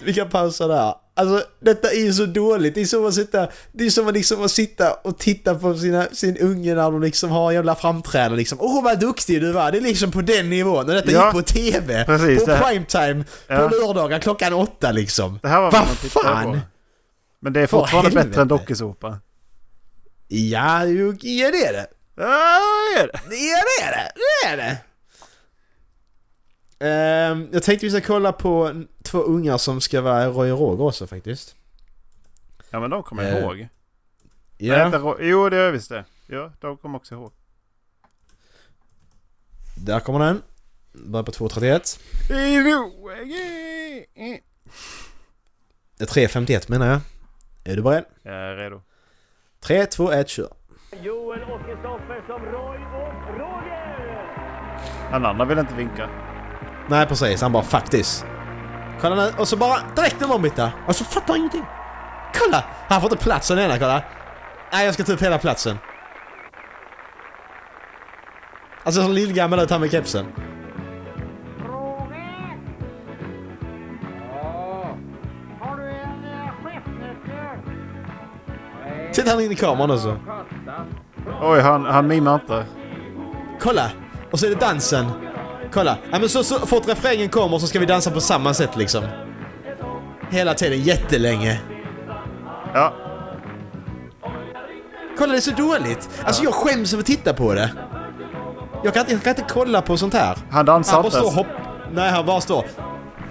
Speaker 2: Vi kan pausa där. Alltså, detta är ju så dåligt. Det är som att sitta, det är som att liksom att sitta och titta på sina, sin unge när de liksom har en jävla framträdande liksom. Åh, vad duktig du var! Det är liksom på den nivån. Och detta
Speaker 1: Ja.
Speaker 2: gick på TV!
Speaker 1: Precis,
Speaker 2: på
Speaker 1: det här-
Speaker 2: primetime,
Speaker 1: Ja.
Speaker 2: på lördagar klockan åtta liksom.
Speaker 1: Det här var
Speaker 2: vad
Speaker 1: man tittade
Speaker 2: fan!
Speaker 1: på. Men det är fortfarande
Speaker 2: helvete.
Speaker 1: bättre än dokusåpa.
Speaker 2: Ja, jo, ja, det är det.
Speaker 1: Ja, det är det.
Speaker 2: Ja, det är det! Det är det! Ehm, jag tänkte vi ska kolla på n- två ungar som ska vara Roy och Roger också faktiskt.
Speaker 1: Ja, men de kommer jag
Speaker 2: Eh,
Speaker 1: ihåg.
Speaker 2: Ja.
Speaker 1: Nej, inte Ro- jo, det gör jag visst det. Ja, de kommer också ihåg.
Speaker 2: Där kommer den. Börjar på 2.31. Eh, 3.51 menar jag. Är du beredd?
Speaker 1: Jag är redo.
Speaker 2: 3, 2, 1, kör.
Speaker 4: Joel och Kristoffer som Roy och Roger!
Speaker 1: Den andra vill inte vinka.
Speaker 2: Nej precis, han bara 'fuck this' Kolla nu, och så bara direkt en ombytta. Och så fattar han ingenting. Kolla! Han får inte platsen ena, kolla. Nej, jag ska ta upp hela platsen. Alltså som lillgammal ut han med kepsen.
Speaker 5: Roger! Ja? Har du en eh, chefsnyckel?
Speaker 2: Sitter han in i kameran också.
Speaker 1: Oj, han, han mimar inte.
Speaker 2: Kolla! Och så är det dansen. Kolla. Ja, men så, så fort refrängen kommer så ska vi dansa på samma sätt liksom. Hela tiden, jättelänge.
Speaker 1: Ja,
Speaker 2: Kolla det är så dåligt! Alltså jag skäms över att titta på det. Jag kan, inte- jag kan inte kolla på sånt här.
Speaker 1: han dansar
Speaker 2: Han bara
Speaker 1: inte
Speaker 2: står och
Speaker 1: ens.
Speaker 2: hopp... Nej han bara står.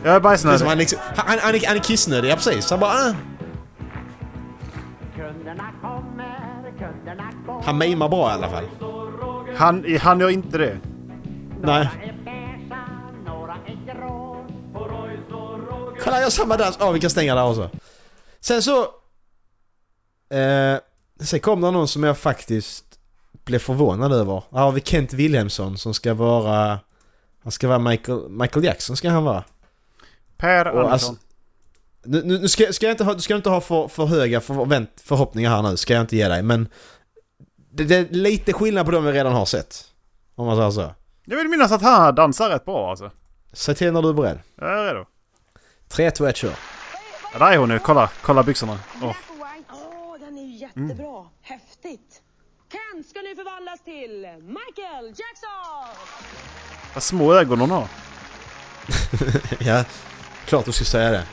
Speaker 1: Jag är
Speaker 2: Det är som han,
Speaker 1: bajsnödig.
Speaker 2: liksom, han, han, han, är- han är kissnödig, ja precis. Han bara... Ah.
Speaker 5: Kunderna kommer, kunderna går.
Speaker 2: Han mimar bra i alla fall.
Speaker 1: Han, han gör inte det.
Speaker 2: Nej.
Speaker 5: Några är beiga, några är grå.
Speaker 2: Kolla jag gör samma dans. Ja vi kan stänga där också. Sen så... Eh, sen kom det någon som jag faktiskt blev förvånad över. Här har vi Kent Wilhelmsson som ska vara... Han ska vara Michael, Michael Jackson ska han vara.
Speaker 1: Per
Speaker 2: Och
Speaker 1: Andersson.
Speaker 2: alltså, nu, nu nu ska, ska jag inte ha, du ska inte ha för, för höga förvänt, förhoppningar här nu, ska jag inte ge dig, men det, det är lite skillnad på de vi redan har sett. Om man säger så.
Speaker 1: Jag vill minnas att han dansar rätt bra alltså.
Speaker 2: Säg till när du är beredd.
Speaker 1: Jag är redo.
Speaker 2: 3, 2, 1, kör.
Speaker 1: Ja, där är hon nu. Kolla, kolla byxorna. Åh.
Speaker 3: Åh, den är ju jättebra. Häftigt. Kent ska nu förvandlas till Michael Jackson!
Speaker 1: Vad små ögon hon har.
Speaker 2: ja, klart du skulle säga det.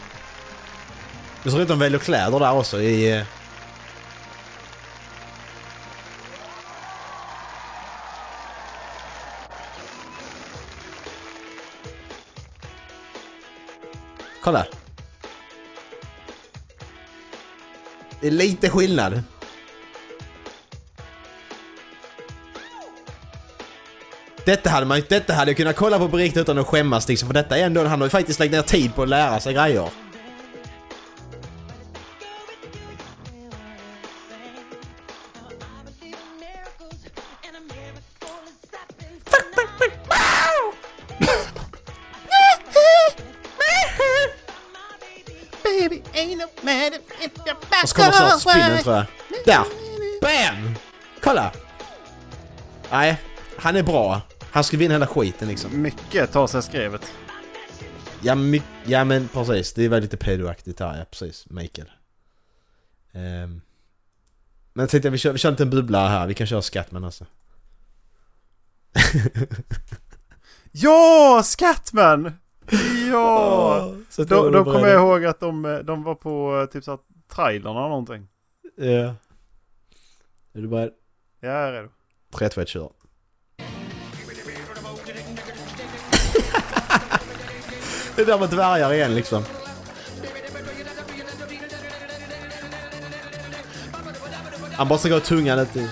Speaker 2: Det ser ut att de väljer kläder där också i... eh. Kolla! Det är lite skillnad. Detta hade, man, detta hade jag kunnat kolla på på riktigt utan att skämmas liksom, för detta är ändå, han har ju faktiskt lagt ner tid på att lära sig grejer. Och så kommer snart spinnen tror jag. Där! Bam! Kolla! Nej, han är bra. Han ska vinna hela skiten liksom.
Speaker 1: Mycket tar sig skrevet.
Speaker 2: Ja, my- ja men precis, det är väl lite pedoaktigt här, ja precis. Michael. Ehm. Men jag tänkte vi kör, vi kör en liten bubblare här, vi kan köra Scatman alltså.
Speaker 1: Ja, Scatman! Ja!
Speaker 2: Så att
Speaker 1: Då, då
Speaker 2: var beredd.
Speaker 1: kommer jag ihåg att de, eh, de var på eh, typ såhär trailern eller någonting.
Speaker 2: Ja. Är du beredd?
Speaker 1: Ja, jag är redo.
Speaker 2: 3, 2, 1, kör. <laughs> det där med dvärgar igen liksom. Han bara ska gå tungan ut i...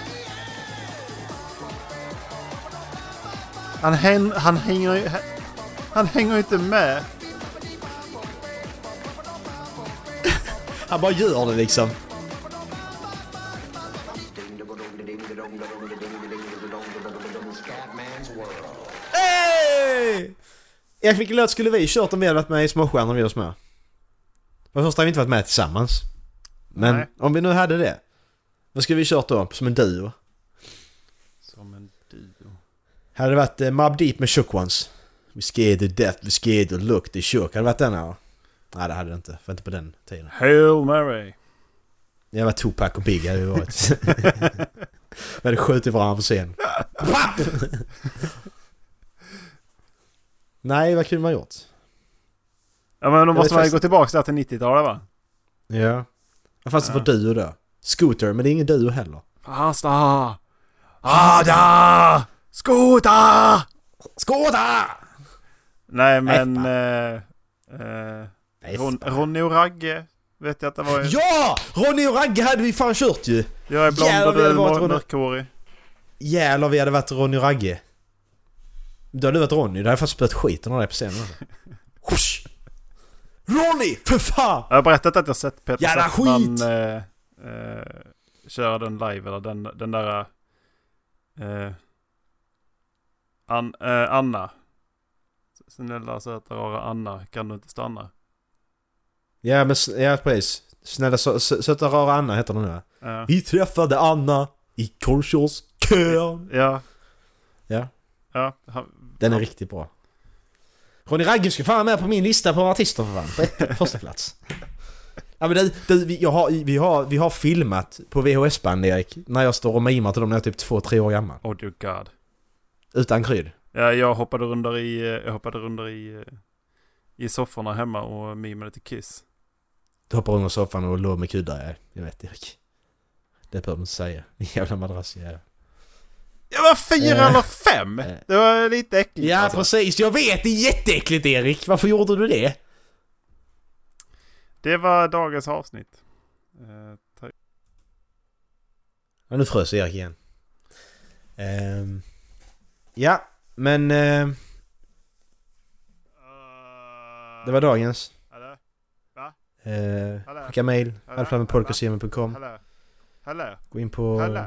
Speaker 1: Han, hän, han hänger ju... hä- Han hänger ju inte med.
Speaker 2: Han bara gör det liksom. Hey! Erik, vilken låt skulle vi kört om vi hade varit med i Småstjärnor och vi oss med? För det första har vi inte varit med tillsammans. Men
Speaker 1: Nej.
Speaker 2: om vi nu hade det. Vad skulle vi kört då? Som en duo?
Speaker 1: Som en duo.
Speaker 2: Hade det varit eh, Mobb Deep med Shook Ones? Vi scared to death, we scared to look, the shook. Hade det varit den här? Nej det hade det inte. För inte på den tiden.
Speaker 1: Hail Mary.
Speaker 2: Jag var Tupac och Big hade vi varit. vi hade skjutit varandra på scen. Papp! Nej, vad kul man gjort.
Speaker 1: Ja men då måste
Speaker 2: vet
Speaker 1: man ju
Speaker 2: faktiskt-
Speaker 1: gå tillbaka där till 90-talet va?
Speaker 2: Ja. Vad fanns det för duo då? Scooter, men det är ingen duo heller.
Speaker 1: Asta! Ada! Skota!
Speaker 2: Skåda!
Speaker 1: Nej men...
Speaker 2: fan.
Speaker 1: eh, eh, Ron, Ronny och Ragge vet jag att det var ju.
Speaker 2: Ja! Ronny och Ragge hade vi fan kört ju!
Speaker 1: Jag är blond
Speaker 2: Jävlar,
Speaker 1: och
Speaker 2: vi
Speaker 1: du
Speaker 2: hade varit
Speaker 1: är mör-
Speaker 2: Ronny.
Speaker 1: mörkhårig.
Speaker 2: Jävlar vi hade varit Ronny och Ragge. Då hade du varit Ronny, då hade jag fått spöat skiten av dig på scenen. Husch! Ronny! För fan!
Speaker 1: Jag har berättat att jag sett Peter
Speaker 2: Jävla
Speaker 1: Settman
Speaker 2: skit!
Speaker 1: eh, eh, köra den live eller den, den där... Eh, an, eh, Anna. Snälla söta rara Anna, kan du inte stanna?
Speaker 2: Ja men s- ja, precis. Snälla sö- sö- söta rara Anna heter den nu va?
Speaker 1: Eh,
Speaker 2: Vi träffade Anna i korvkiosken.
Speaker 1: ja,
Speaker 2: Ja,
Speaker 1: ja. han-
Speaker 2: den är riktigt bra. Ronny Ragge ska fan med på min lista på artister för fan. På ett- första plats. Ja men du, du vi, jag har, vi, har, vi har filmat på VHS-band Erik. När jag står och mimar till dem när jag är typ 2-3 år gammal.
Speaker 1: Oh dear god.
Speaker 2: Utan krydd.
Speaker 1: Ja, jag hoppade runder i, eh, jag hoppade runder i, eh, i sofforna hemma och mimade till Kiss.
Speaker 2: Du hoppar under soffan och låg med kuddar. Jag, jag vet Erik. Det behöver du inte säga. Din jävla madrass. Ja,
Speaker 1: Jag var fyra
Speaker 2: Eh.
Speaker 1: eller fem! Det var lite äckligt
Speaker 2: ja
Speaker 1: alltså.
Speaker 2: precis. Jag vet. Det är jätteäckligt Erik. Varför gjorde du det?
Speaker 1: Det var dagens avsnitt. Eh, tack.
Speaker 2: Ja, nu frös Erik igen. Ehm, ja, men ehm, det var dagens.
Speaker 1: Eh, Hallå?
Speaker 2: Uh,
Speaker 1: Hallå?
Speaker 2: skicka mail, alflammepodcastgmail.com.
Speaker 1: Hallå? Hallå?
Speaker 2: Gå in på...
Speaker 1: Hallå?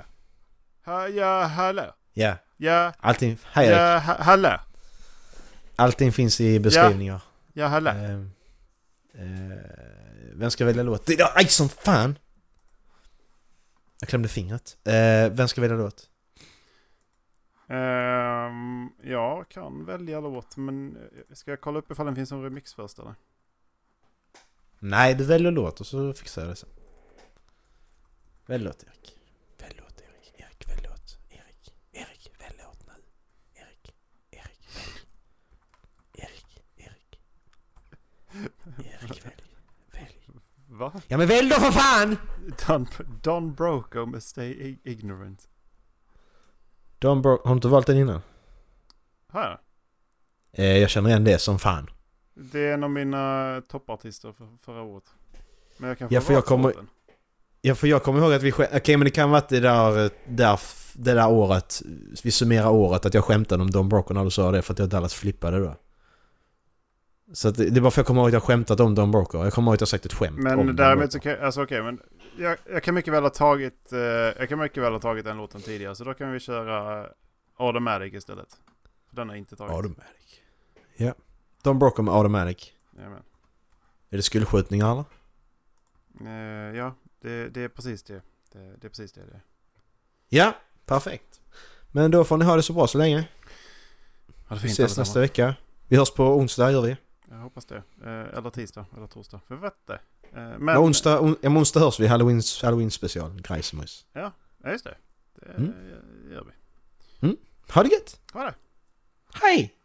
Speaker 1: Ha, ja, hallå?
Speaker 2: Ja,
Speaker 1: Ja,
Speaker 2: allting, hej Erik.
Speaker 1: ja, ha, hallå?
Speaker 2: Allting finns i beskrivningar.
Speaker 1: Ja, hallå?
Speaker 2: Ehm, eh, vem ska välja låt? Ja, Aj, som fan! Jag klämde fingret. Eh, vem ska välja låt?
Speaker 1: Ehm, jag kan välja låt, men eh, ska jag kolla upp ifall den finns en remix först eller?
Speaker 2: Nej, du väljer låt och så fixar jag det sen. Välj låt Erik. Välj låt Erik. Erik, välj låt. Erik. Erik, välj låt nu. Erik. Erik, välj. Erik. Erik. Erik, välj. Välj.
Speaker 1: Va?
Speaker 2: Ja men välj då för fan!
Speaker 1: Don, Don Broco med Stay I- Ignorant.
Speaker 2: Don Bro- har du inte valt den innan?
Speaker 1: Här.
Speaker 2: Eh, jag känner igen det som fan.
Speaker 1: Det är en av mina toppartister för, förra året. Men jag kanske
Speaker 2: Ja,
Speaker 1: har
Speaker 2: för jag
Speaker 1: valt
Speaker 2: kommer-
Speaker 1: låten.
Speaker 2: Ja, för jag kommer ihåg att vi skäm- Okej, men det kan vara att det där, där, det där året, vi summerar året, att jag skämtade om Don Broco när du sa det för att jag och Dallas flippade då. Så att det, det är bara för att jag kommer ihåg att jag skämtat om Don Broco. Jag kommer ihåg att jag sagt ett skämt om
Speaker 1: Men
Speaker 2: Don
Speaker 1: däremot så
Speaker 2: Broco.
Speaker 1: kan alltså okej, men jag, jag kan mycket väl ha tagit, eh, jag kan mycket väl ha tagit den låten tidigare, så då kan vi köra eh, Automatic istället. För Den har jag inte tagit.
Speaker 2: Automatic. Ja. Don Broco med Automatic.
Speaker 1: Jajamän.
Speaker 2: Är det skuldskjutningar eller?
Speaker 1: Eh, ja, det, det är precis det. Det, det är precis det det är.
Speaker 2: Ja, perfekt. Men då får ni ha det så bra så länge.
Speaker 1: Ha det
Speaker 2: Vi
Speaker 1: fint
Speaker 2: ses
Speaker 1: allesammans.
Speaker 2: nästa vecka. Vi hörs på onsdag gör vi.
Speaker 1: Jag hoppas det. Eh, eller tisdag, eller torsdag. Jag vet det. Eh,
Speaker 2: Men,
Speaker 1: men...
Speaker 2: onsdag, on, ja, men onsdag hörs vi Halloween, Halloween special. Grejsemojs.
Speaker 1: Ja, just det. Det
Speaker 2: Mm.
Speaker 1: eh, gör vi.
Speaker 2: Ha det gött!
Speaker 1: Ha det!
Speaker 2: Hej!